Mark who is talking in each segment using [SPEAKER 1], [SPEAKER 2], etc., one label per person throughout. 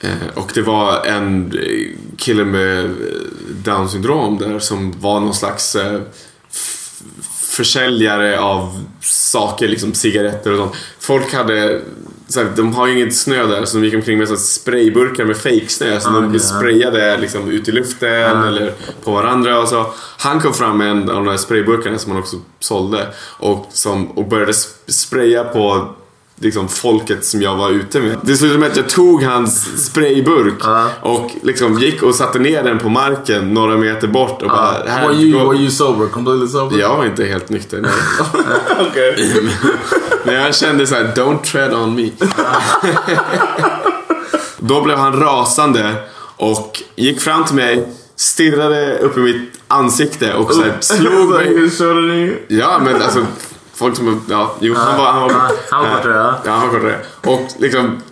[SPEAKER 1] Eh, Och det var en eh, kille med eh, down syndrom där som var någon slags eh, f- försäljare av saker, liksom cigaretter och sånt. Folk hade, så här, de har ju inget snö där så de gick omkring med så här sprayburkar med fejksnö som de sprayade liksom, ut i luften eller på varandra och så. Han kom fram med en av de här sprayburkarna som han också sålde och, som, och började sp- spraya på liksom folket som jag var ute med. Det slutade med att jag tog hans sprayburk och liksom gick och satte ner den på marken några meter bort
[SPEAKER 2] Ah.
[SPEAKER 1] och bara... här,
[SPEAKER 2] Were Uh, you were you sober? Completely sober?
[SPEAKER 1] Jag var inte helt nykter. Nej. Men jag kände så här: don't tread on me. Då blev han rasande och gick fram till mig, stirrade upp i mitt ansikte och så
[SPEAKER 2] Oh.
[SPEAKER 1] här, slog
[SPEAKER 2] Så
[SPEAKER 1] mig.
[SPEAKER 2] hur körde ni?
[SPEAKER 1] Ja, men alltså folk som... Ja, jo, han var... Han var,
[SPEAKER 2] Ja, Ah, han var
[SPEAKER 1] eh,
[SPEAKER 2] kortare, ja.
[SPEAKER 1] Ja, han var kortare. Och liksom...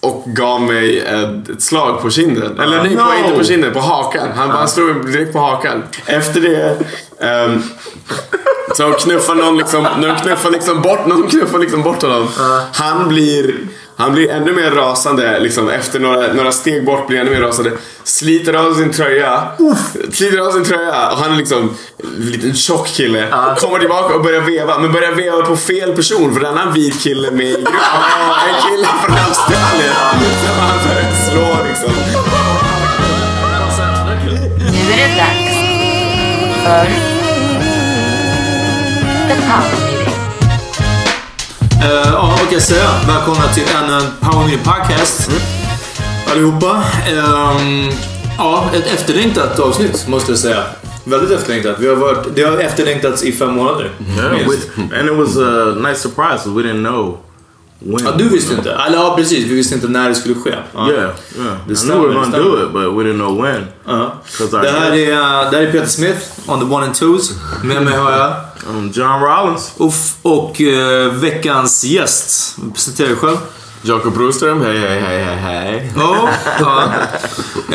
[SPEAKER 1] Och gav mig ett, ett slag på kinden. Eller nej, på,
[SPEAKER 2] Ah. No! Ah.
[SPEAKER 1] inte på kinden, på hakan. Han bara slog mig direkt på hakan. Efter det... ehm, så knuffar någon liksom, någon knuffar liksom bort, någon knuffar liksom bort honom. Han blir, han blir ännu mer rasande liksom, efter några, några steg bort blir han ännu mer rasande. Sliter av sin tröja. Sliter av sin tröja och han är liksom en liten tjock kille. Kommer tillbaka och börjar veva, men börjar veva på fel person för det är en annan vit kille med i gruppen. En kille från Australien. Som han börjar slå liksom.
[SPEAKER 3] Nu är det dags för Detaljnytt.
[SPEAKER 2] Eh, Ja, vad kan jag säga? Välkomna till ännu en Power Meeting Podcast.
[SPEAKER 4] Mm.
[SPEAKER 2] Allihopa. Ehm, ja, ett efterlängtat avsnitt måste jag säga. Väldigt efterlängtat. Vi har varit, det har efterlängtats i fem månader.
[SPEAKER 5] Yeah,
[SPEAKER 2] Minst.
[SPEAKER 5] we- and it was a nice surprise. 'cause We didn't know
[SPEAKER 4] when.
[SPEAKER 2] Ja, du visste inte. Eller ja, precis. Vi visste inte när det skulle ske. Ja.
[SPEAKER 4] Yeah, yeah.
[SPEAKER 2] Det
[SPEAKER 4] I knew we
[SPEAKER 2] stämmer,
[SPEAKER 4] were
[SPEAKER 2] det
[SPEAKER 4] gonna
[SPEAKER 2] stämmer.
[SPEAKER 4] do it, but we didn't know when.
[SPEAKER 2] Ja.
[SPEAKER 4] 'Cause I
[SPEAKER 2] Det här är, eh, det här är Peter Smith, on the one and uh, twos. Med mig har jag...
[SPEAKER 4] Um, John Rollins.
[SPEAKER 2] Och, f- och eh, veckans gäst. Presentera dig själv.
[SPEAKER 1] Jakob Broström, hej hej hej hej hej.
[SPEAKER 2] Ja, ja.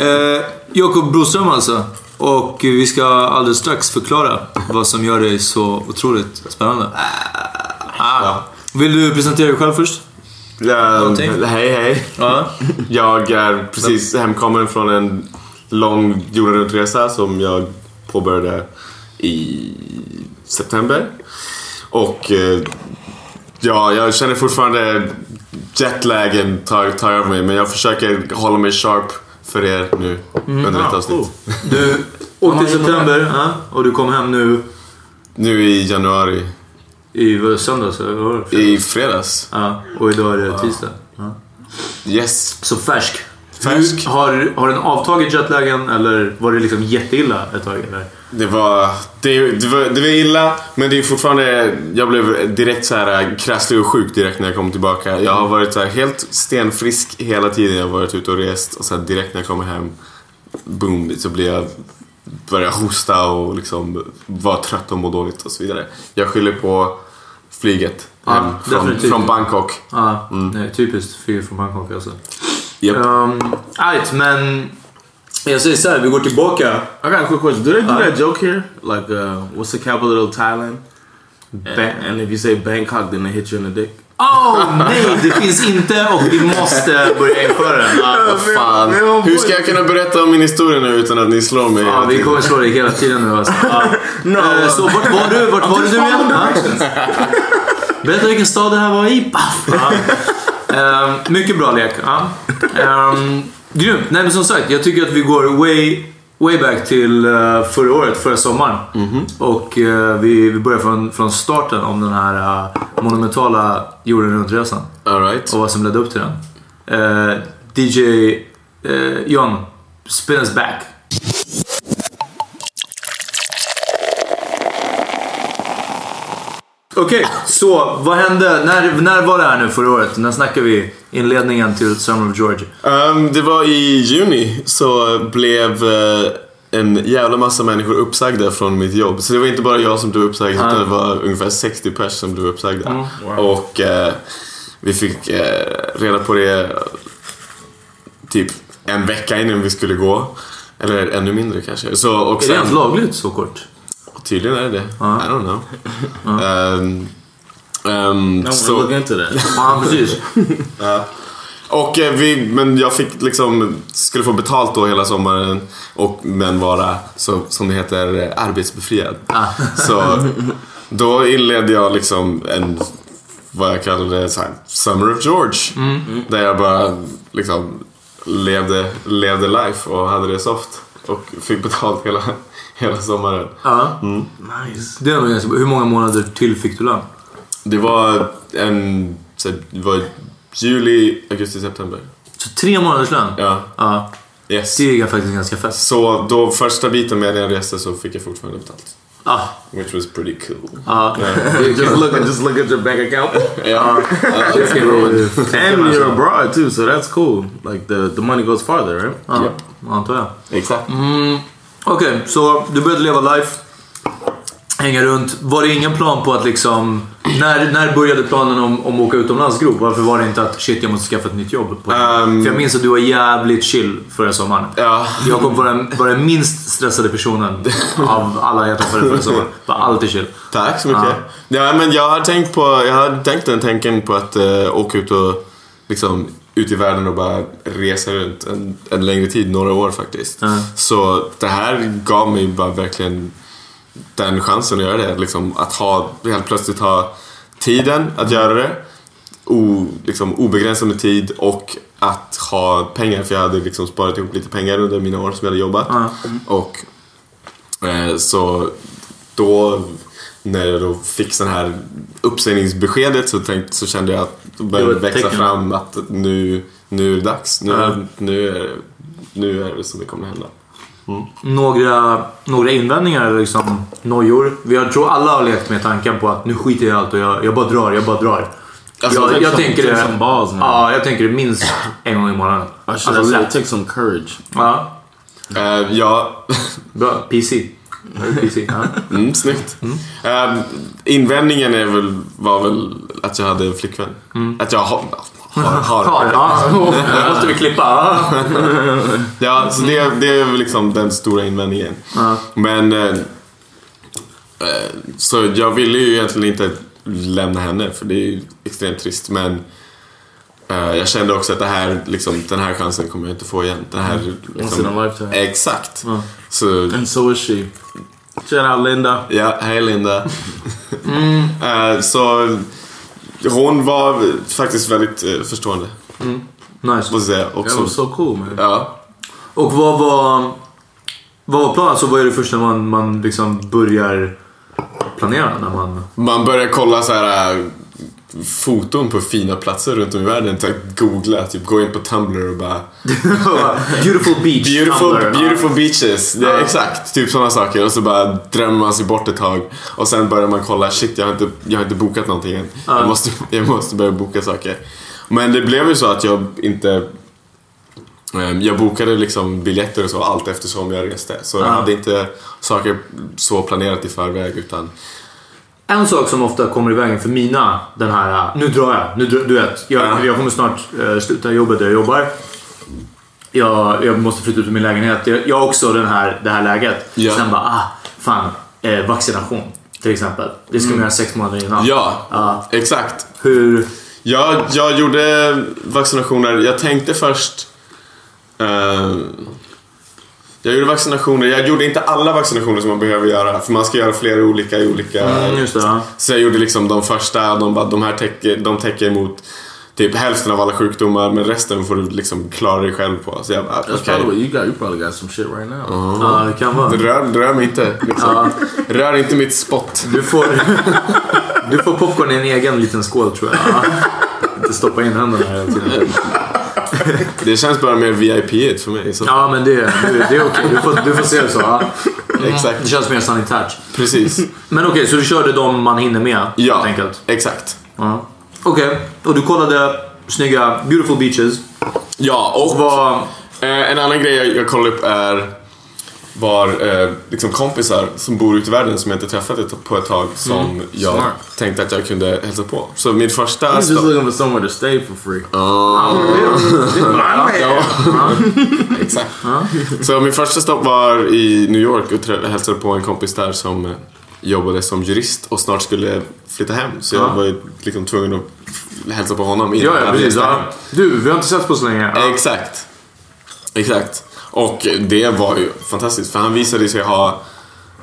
[SPEAKER 2] Eh, Jakob Broström alltså. Och vi ska alldeles strax förklara vad som gör dig så otroligt spännande.
[SPEAKER 1] Ah,
[SPEAKER 2] Vill du presentera dig själv först?
[SPEAKER 4] Um,
[SPEAKER 1] ja.
[SPEAKER 2] Någonting?
[SPEAKER 1] hej hej.
[SPEAKER 2] Ja.
[SPEAKER 1] Jag är precis hemkommen från en lång jorden runt-resa som jag påbörjade i september. Och eh, ja, jag känner fortfarande jetlagen tar, tar över mig men jag försöker hålla mig sharp för er nu under ett avsnitt.
[SPEAKER 2] Du åkte i september ja, och du kom hem nu
[SPEAKER 1] Nu i januari,
[SPEAKER 2] i vad är det, söndags eller vad var det?
[SPEAKER 1] i fredags.
[SPEAKER 2] Ja, och idag är det tisdag. Ja.
[SPEAKER 1] Yes.
[SPEAKER 2] Så färsk.
[SPEAKER 1] Färsk.
[SPEAKER 2] Hur- Har, har den avtagit jetlagen eller var det liksom jätteilla ett tag? Eller?
[SPEAKER 1] Det var, det, det, var, det var illa, men det är fortfarande... Jag blev direkt så här äh, krasslig och sjuk direkt när jag kom tillbaka. Jag har varit så här helt stenfrisk hela tiden jag har varit ute och rest. Och sen direkt när jag kommer hem, boom, så blir jag... Börjar hosta och liksom vara trött och må dåligt och så vidare. Jag skyller på flyget hem från,
[SPEAKER 2] definitivt.
[SPEAKER 1] från Bangkok.
[SPEAKER 2] Ja, nej, typiskt fyr från Bangkok alltså.
[SPEAKER 1] Japp.
[SPEAKER 2] Um, Alright, men jag säger så här, vi går tillbaka.
[SPEAKER 4] I got a quick question. Do they do that joke here? Like, uh, what's the capital of Thailand?
[SPEAKER 2] Eh.
[SPEAKER 4] And, and if you say Bangkok, then they hit you in the dick.
[SPEAKER 2] Oh nej, det finns inte och vi måste börja införa den. Ah, Ja,
[SPEAKER 1] Vad fan. Hur ska jag kunna berätta om min historia nu utan att ni slår mig?
[SPEAKER 2] Ja, vi kommer slå dig hela tiden nu alltså. Ja. Eh, Så vart var du? Vart var du nu igen? Ja. Berätta vilken stad det här var i. Paff! Ja. Ehm, Mycket bra lek. Ja. Ehm, Grymt! Nej men som sagt, jag tycker att vi går way, way back till eh, förra året, förra sommaren. Och eh, vi, vi börjar från, från starten om den här eh, monumentala jorden runt-resan
[SPEAKER 1] All right.
[SPEAKER 2] och vad som ledde upp till den. Eh, DJ uh, John, spin us back. Okej, så vad hände? När, när var det här nu förra året? När snackar vi inledningen till Summer of Georgia?
[SPEAKER 1] Ehm, det var i juni så blev eh, en jävla massa människor uppsagda från mitt jobb. Så det var inte bara jag som blev uppsagd utan
[SPEAKER 2] Ah.
[SPEAKER 1] det var ungefär 60 pers som blev uppsagda. Och eh, vi fick eh, reda på det typ en vecka innan vi skulle gå. Eller ännu mindre kanske. Så, och
[SPEAKER 2] Är det
[SPEAKER 1] sen,
[SPEAKER 2] Ah. ens lagligt så kort?
[SPEAKER 1] tydligen är det det. I don't know.
[SPEAKER 2] Ah.
[SPEAKER 1] Ehm, ehm,
[SPEAKER 4] I want to
[SPEAKER 1] så-
[SPEAKER 4] look into that.
[SPEAKER 2] Ja, precis.
[SPEAKER 1] Och eh, vi, men jag fick liksom, skulle få betalt då hela sommaren och men vara, så, som det heter, eh, arbetsbefriad. Så då inledde jag liksom en, vad jag kallade så här, Summer of George. Där jag bara liksom levde, levde life och hade det soft. Och fick betalt hela, hela sommaren.
[SPEAKER 2] Ja.
[SPEAKER 4] nice.
[SPEAKER 2] Det är nog ganska bra. Hur många månader till fick du lön?
[SPEAKER 1] Det var en, så, här, det var juli, augusti, september.
[SPEAKER 2] Så tre månaders lön?
[SPEAKER 1] Ja.
[SPEAKER 2] Ja.
[SPEAKER 1] Yes.
[SPEAKER 2] Det är faktiskt ganska fett.
[SPEAKER 1] Så då första biten med den reste så fick jag fortfarande betalt.
[SPEAKER 2] Ah,
[SPEAKER 1] Which was pretty cool.
[SPEAKER 2] ah.
[SPEAKER 4] just look at just look at your bank account.
[SPEAKER 1] Ja.
[SPEAKER 4] and you're abroad too, so that's cool. Like the the money goes farther, right?
[SPEAKER 2] Ja, antar jag.
[SPEAKER 1] Exakt.
[SPEAKER 2] Mm. Okej, så du började leva life. Hänga runt. Var det ingen plan på att liksom... När, när började planen om, om att åka utomlands grov? Varför var det inte att shit, jag måste skaffa ett nytt jobb? På För jag minns att du var jävligt chill förra sommaren.
[SPEAKER 1] Ehm. Ja.
[SPEAKER 2] Jakob var den, var den minst stressade personen av alla jag träffade förra sommaren. Var alltid chill.
[SPEAKER 1] Tack så mycket.
[SPEAKER 2] Ja.
[SPEAKER 1] Ja, men jag har tänkt på, jag har tänkt den tanken på att eh, åka ut och liksom ut i världen och bara resa runt en, en längre tid, några år faktiskt.
[SPEAKER 2] Ah.
[SPEAKER 1] Så det här gav mig bara verkligen den chansen att göra det. Liksom, att ha, helt plötsligt ha tiden att göra det. O, liksom, obegränsad med tid och att ha pengar. För jag hade liksom sparat ihop lite pengar under mina år som jag hade jobbat. Och eh, så då när jag då fick sån här uppsägningsbeskedet så, tänkte, så kände jag att det började
[SPEAKER 2] Det var ett
[SPEAKER 1] växa
[SPEAKER 2] tecken.
[SPEAKER 1] fram att nu, nu är det dags. Nu, nu, är, det- nu är det som det kommer att hända.
[SPEAKER 2] några, några invändningar eller liksom nojor. Vi har- tror alla har lekt med tanken på att nu skiter jag i allt och jag, jag bara drar, jag bara drar. Alltså, jag, jag tänker det.
[SPEAKER 4] Some balls man.
[SPEAKER 2] ja, jag tänker det minst en gång i månaden.
[SPEAKER 4] I should
[SPEAKER 2] Alltså,
[SPEAKER 4] have
[SPEAKER 2] lätt.
[SPEAKER 4] said take some courage.
[SPEAKER 2] Ja,
[SPEAKER 1] Eh, ja,
[SPEAKER 2] bra. PC. Very PC. Ja.
[SPEAKER 1] mm, snyggt. Eh, invändningen är väl, var väl att jag hade en flickvän. Att jag har... Mm. har,
[SPEAKER 2] Ja,
[SPEAKER 1] har.
[SPEAKER 2] ja. Det måste vi klippa. Ja.
[SPEAKER 1] Ja, så det, det är väl liksom den stora invändningen. Men... Eh, eh, så jag ville ju egentligen inte lämna henne för det är ju extremt trist men eh, jag kände också att det här, liksom, den här chansen kommer jag inte få igen. Den här, liksom,
[SPEAKER 4] in a lifetime.
[SPEAKER 1] Exakt. Så
[SPEAKER 4] And so is she. Shout out Linda.
[SPEAKER 1] Ja, hej Linda. Eh, så hon var faktiskt väldigt eh, förstående.
[SPEAKER 2] Nice.
[SPEAKER 1] Måste jag säga. Och
[SPEAKER 4] That was
[SPEAKER 1] så,
[SPEAKER 4] so cool man.
[SPEAKER 1] ja.
[SPEAKER 2] Och vad var, vad var planen? Alltså, vad är det första man, man liksom börjar planera när man...
[SPEAKER 1] Man börjar kolla så här eh, foton på fina platser runt om i världen. Typ googla, typ gå in på Tumblr och bara
[SPEAKER 2] beautiful beach.
[SPEAKER 1] Beautiful,
[SPEAKER 2] Tumblr.
[SPEAKER 1] beautiful beaches, det är exakt. Typ sådana saker. Och så bara drömmer man sig bort ett tag. Och sen börjar man kolla, shit jag har inte, jag har inte bokat någonting än. Jag, måste, jag måste börja boka saker. Men det blev ju så att jag inte... ehm, Jag bokade liksom biljetter och så allt eftersom jag reste. Så jag hade inte saker så planerat i förväg utan...
[SPEAKER 2] En sak som ofta kommer i vägen för mina, den här nu drar jag, nu, dr- du vet, jag,
[SPEAKER 1] Ja.
[SPEAKER 2] jag kommer snart eh, sluta jobbet där jag jobbar. Jag, jag måste flytta ut ur min lägenhet. Jag, jag har också den här, det här läget.
[SPEAKER 1] Ja.
[SPEAKER 2] Sen bara, ah, fan, eh, vaccination till exempel. Det ska man
[SPEAKER 4] Mm.
[SPEAKER 2] göra sex månader innan.
[SPEAKER 1] Ja,
[SPEAKER 2] Ja.
[SPEAKER 1] exakt.
[SPEAKER 2] Hur,
[SPEAKER 1] Jag, jag gjorde vaccinationer. Jag tänkte först... eh, jag gjorde vaccinationer. Jag gjorde inte alla vaccinationer som man behöver göra. För man ska göra flera olika i olika...
[SPEAKER 2] mm, just det, ja.
[SPEAKER 1] Så jag gjorde liksom de första. De, bara, de här täcker, de täcker emot typ hälften av alla sjukdomar. Men resten får du liksom klara dig själv på. Så jag bara,
[SPEAKER 4] That's
[SPEAKER 1] okej.
[SPEAKER 4] probably what you got. You probably got some shit right now.
[SPEAKER 2] ja, det kan vara.
[SPEAKER 1] Rör, rör mig inte. Liksom. Rör inte mitt spott.
[SPEAKER 2] Du får, du får popcorn i en egen liten skål tror jag. Ja. Inte stoppa in händerna hela tiden.
[SPEAKER 1] Det känns bara mer VIP-igt för mig. Så.
[SPEAKER 2] Ja, men det, det, det är okej. Du, får, du får se det så. Ja. Det
[SPEAKER 1] Exakt.
[SPEAKER 2] känns mer sanitärt.
[SPEAKER 1] Precis.
[SPEAKER 2] Men okej, så du körde de man hinner med helt
[SPEAKER 1] Ja,
[SPEAKER 2] enkelt?
[SPEAKER 1] exakt.
[SPEAKER 2] Ja. Okej, och du kollade snygga beautiful beaches.
[SPEAKER 1] Ja, och...
[SPEAKER 2] Vad...
[SPEAKER 1] Eh, en annan grej jag, jag kollar upp är var eh, liksom kompisar som bor ute i världen som jag inte träffat ett, på ett tag som jag
[SPEAKER 4] Smart.
[SPEAKER 1] tänkte att jag kunde hälsa på. Så min första
[SPEAKER 4] I'm
[SPEAKER 2] Alltså.
[SPEAKER 4] just
[SPEAKER 1] stopp...
[SPEAKER 4] looking for somewhere to stay for free.
[SPEAKER 1] Ja. Exakt. Så min första stopp var i New York och trä- hälsade på en kompis där som eh, jobbade som jurist och snart skulle flytta hem. Så jag var ju liksom tvungen att hälsa på honom innan jag reste hem.
[SPEAKER 2] Du, vi har inte sett på så länge.
[SPEAKER 1] Exakt. Exakt. Och det var ju fantastiskt för han visade sig ha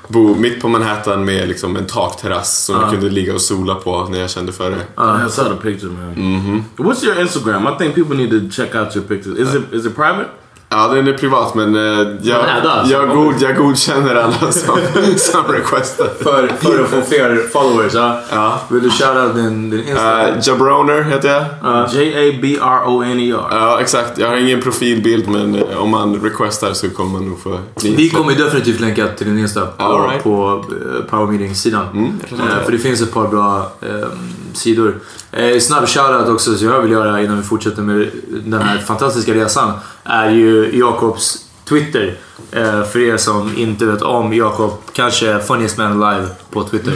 [SPEAKER 1] bo mitt på Manhattan med liksom en takterrass som jag kunde ligga och sola på när jag kände för det.
[SPEAKER 4] I saw the picture, man. Mm-hmm. What's your Instagram? I think people need to check out your pictures. Is it is it private?
[SPEAKER 1] Ja, den är privat men eh, jag,
[SPEAKER 2] Men ändå, alltså.
[SPEAKER 1] jag, god, jag godkänner alla som, som requestar.
[SPEAKER 2] För, för att få fler followers. Ja.
[SPEAKER 1] Ja.
[SPEAKER 2] Vill du shoutout din, din Instagram?
[SPEAKER 1] Eh, Jabroner heter jag.
[SPEAKER 4] J A B R O N E R.
[SPEAKER 1] Ja, exakt. Jag har ingen profilbild men eh, om man requestar så kommer man nog få...
[SPEAKER 2] Vi kommer ju definitivt länka till din Insta på,
[SPEAKER 1] All right.
[SPEAKER 2] på eh, Power Meeting-sidan. Eh, för det finns ett par bra ehm, sidor. Eh, snabb shoutout också som jag vill göra innan vi fortsätter med den här fantastiska resan är ju Jakobs Twitter. Eh, för er som inte vet om Jakob, kanske är funniest man alive på Twitter.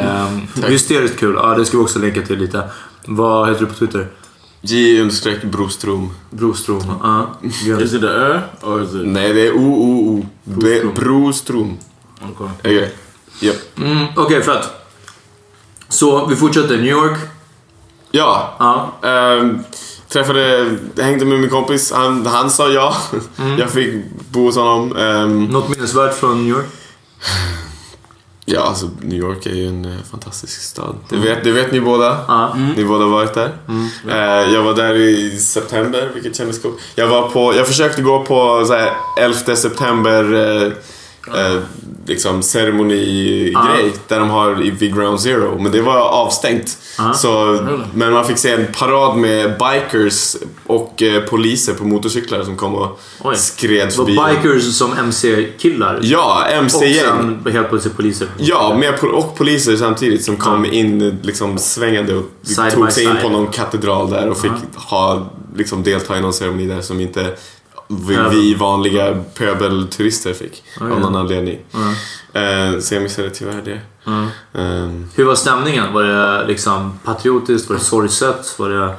[SPEAKER 2] eh, hysteriskt kul, ja, det ska vi också länka till lite. Vad heter du på Twitter?
[SPEAKER 1] J understreck Brostrom.
[SPEAKER 2] Brostrom. Ja, grymt.
[SPEAKER 4] Is it a er or is it
[SPEAKER 1] Nej, det är O-O-O. B- Brostrom.
[SPEAKER 4] okay?
[SPEAKER 1] Okej. Japp.
[SPEAKER 2] Mm, Okej, för att... Så vi fortsätter. New York.
[SPEAKER 1] Ja.
[SPEAKER 4] Ah.
[SPEAKER 2] Ja.
[SPEAKER 1] Ehm, träffade, hängde med min kompis, han, han sa ja.
[SPEAKER 4] Mhm.
[SPEAKER 1] Jag fick bo hos honom. Ehm,
[SPEAKER 2] Något minnesvärt från New York?
[SPEAKER 1] ja, alltså New York är ju en eh, fantastisk stad. Det vet, det vet ni båda.
[SPEAKER 2] Mm. Ja. Mm.
[SPEAKER 1] Ni båda har varit där. Eh, jag var där i september, vilket kändes coolt. Jag, var på, jag försökte gå på så här, 11 september eh, eh, liksom ceremonigrej
[SPEAKER 2] Ja.
[SPEAKER 1] där de har i- vid Ground Zero. Men det var avstängt.
[SPEAKER 2] Ja.
[SPEAKER 1] Så,
[SPEAKER 2] Really?
[SPEAKER 1] men man fick se en parad med bikers och eh, poliser på motorcyklar som kom och
[SPEAKER 2] Oj.
[SPEAKER 1] skred
[SPEAKER 2] Och
[SPEAKER 1] förbi.
[SPEAKER 2] bikers som MC-killar.
[SPEAKER 1] Ja, MC-gäng.
[SPEAKER 2] Och sen helt plötsligt poliser.
[SPEAKER 1] Ja, med pol- och poliser samtidigt som kom in liksom svängande och
[SPEAKER 2] Side by
[SPEAKER 1] tog sig in
[SPEAKER 2] side.
[SPEAKER 1] på någon katedral där och fick ha, liksom, delta i någon ceremoni där som inte vi,
[SPEAKER 2] Ja.
[SPEAKER 1] vi vanliga pöbelturister fick
[SPEAKER 2] ja.
[SPEAKER 1] av någon anledning. Eh, så jag missade tyvärr det. Ehm,
[SPEAKER 2] Hur var stämningen? Var det liksom patriotiskt? Var det sorgset? Var det...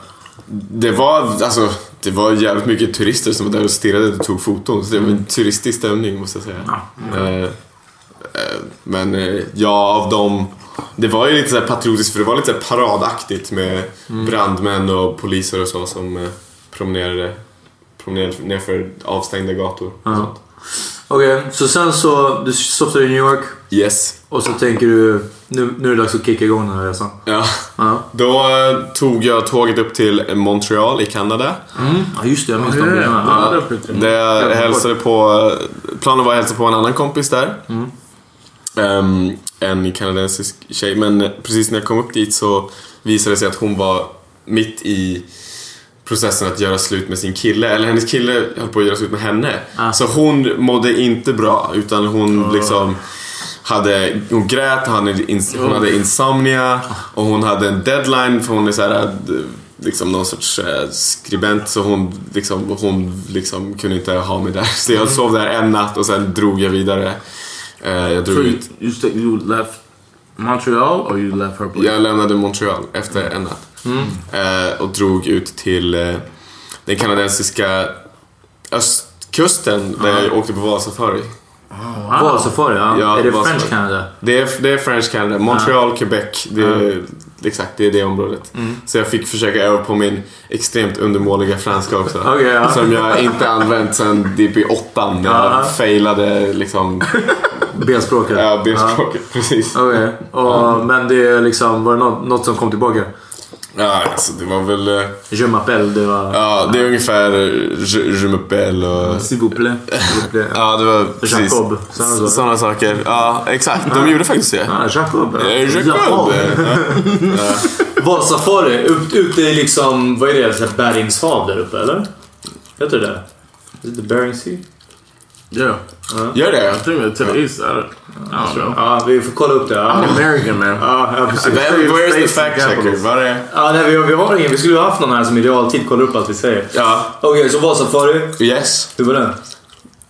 [SPEAKER 1] det, var, alltså, det var jävligt mycket turister som var där och stirrade och tog foton så det var en turistig stämning måste jag säga. Eh, eh, Men eh, ja, av dem... Det var ju lite så här patriotiskt för det var lite så här paradaktigt med brandmän och poliser och så som eh, promenerade, promenerade nerför avstängda gator. och sånt.
[SPEAKER 2] Okej, så sen så... Du softade i New York
[SPEAKER 1] Yes.
[SPEAKER 2] och så tänker du nu, nu är det dags att kicka igång den här resan.
[SPEAKER 1] Ja.
[SPEAKER 2] Ja,
[SPEAKER 1] Då eh, tog jag tåget upp till Montreal i Kanada.
[SPEAKER 2] ja just det. Jag minns de bilderna.
[SPEAKER 4] Ja,
[SPEAKER 2] Ja.
[SPEAKER 4] det är skit.
[SPEAKER 1] Där jag hälsade på, planen var att hälsa på en annan kompis där. Ehm, en kanadensisk tjej. Men precis när jag kom upp dit så visade det sig att hon var mitt i processen att göra slut med sin kille. Eller hennes kille höll på att göra slut med henne. Så hon mådde inte bra utan hon liksom hade, hon grät, hon hade, ins- hon hade insomnia och hon hade en deadline för hon är så här, eh, liksom någon sorts eh, skribent så hon, liksom, hon liksom kunde inte ha mig där. Så jag sov där en natt och sen drog jag vidare. Eh, Jag drog
[SPEAKER 4] So you,
[SPEAKER 1] ut.
[SPEAKER 4] you, st- you left Montreal or you left her place?
[SPEAKER 1] Jag lämnade Montreal efter en natt. Eh, och drog ut till eh, den kanadensiska östkusten där jag åkte på Vasafari.
[SPEAKER 2] Vasafari, ja.
[SPEAKER 1] Ja,
[SPEAKER 2] Är det
[SPEAKER 1] Vasafari.
[SPEAKER 2] French Canada?
[SPEAKER 1] Det är, det är French Canada, Montreal, Quebec. Det är, Exakt, det är det området.
[SPEAKER 2] Mm.
[SPEAKER 1] Så jag fick försöka öva på min extremt undermåliga franska också.
[SPEAKER 2] Okej, ja.
[SPEAKER 1] Som jag inte använt sedan DP8 när jag
[SPEAKER 2] Ja.
[SPEAKER 1] failade liksom,
[SPEAKER 2] B-språket?
[SPEAKER 1] ja, B-språket. Precis.
[SPEAKER 2] Okej, och- men det är liksom, var det något, något som kom tillbaka?
[SPEAKER 1] Ja, alltså, det var väl... eh,
[SPEAKER 2] Je m'appelle, det var...
[SPEAKER 1] Ja, det är ungefär eh, Je, je m'appelle och...
[SPEAKER 4] S'il vous plaît.
[SPEAKER 1] Ja, det var precis.
[SPEAKER 2] Mm. Jacob, sådana saker.
[SPEAKER 1] Sådana saker. Ja, exakt. De gjorde faktiskt det.
[SPEAKER 2] Ah, Jacob.
[SPEAKER 1] Eh, Jacob!
[SPEAKER 2] Jaha. Vasafari, ut- ute i liksom, vad är det, så här Berings hav där uppe eller? Heter det det? Is it the Bering Sea?
[SPEAKER 4] Yeah.
[SPEAKER 1] Gör det?
[SPEAKER 4] I think it's
[SPEAKER 2] typ-
[SPEAKER 4] to the east. I don't, I don't know.
[SPEAKER 2] Ja, vi får kolla upp det. Ja,
[SPEAKER 4] I'm American, man.
[SPEAKER 2] ja, ja precis.
[SPEAKER 1] Vem, where's
[SPEAKER 4] Space
[SPEAKER 1] the fact checker?
[SPEAKER 4] capitals.
[SPEAKER 1] Var det?
[SPEAKER 2] Ja, nej, vi, har- vi har ingen. Vi skulle ha haft någon här som i realtid kollar upp allt vi säger.
[SPEAKER 1] Ja.
[SPEAKER 2] Okej, så Vasafari.
[SPEAKER 1] Yes.
[SPEAKER 2] Hur var den?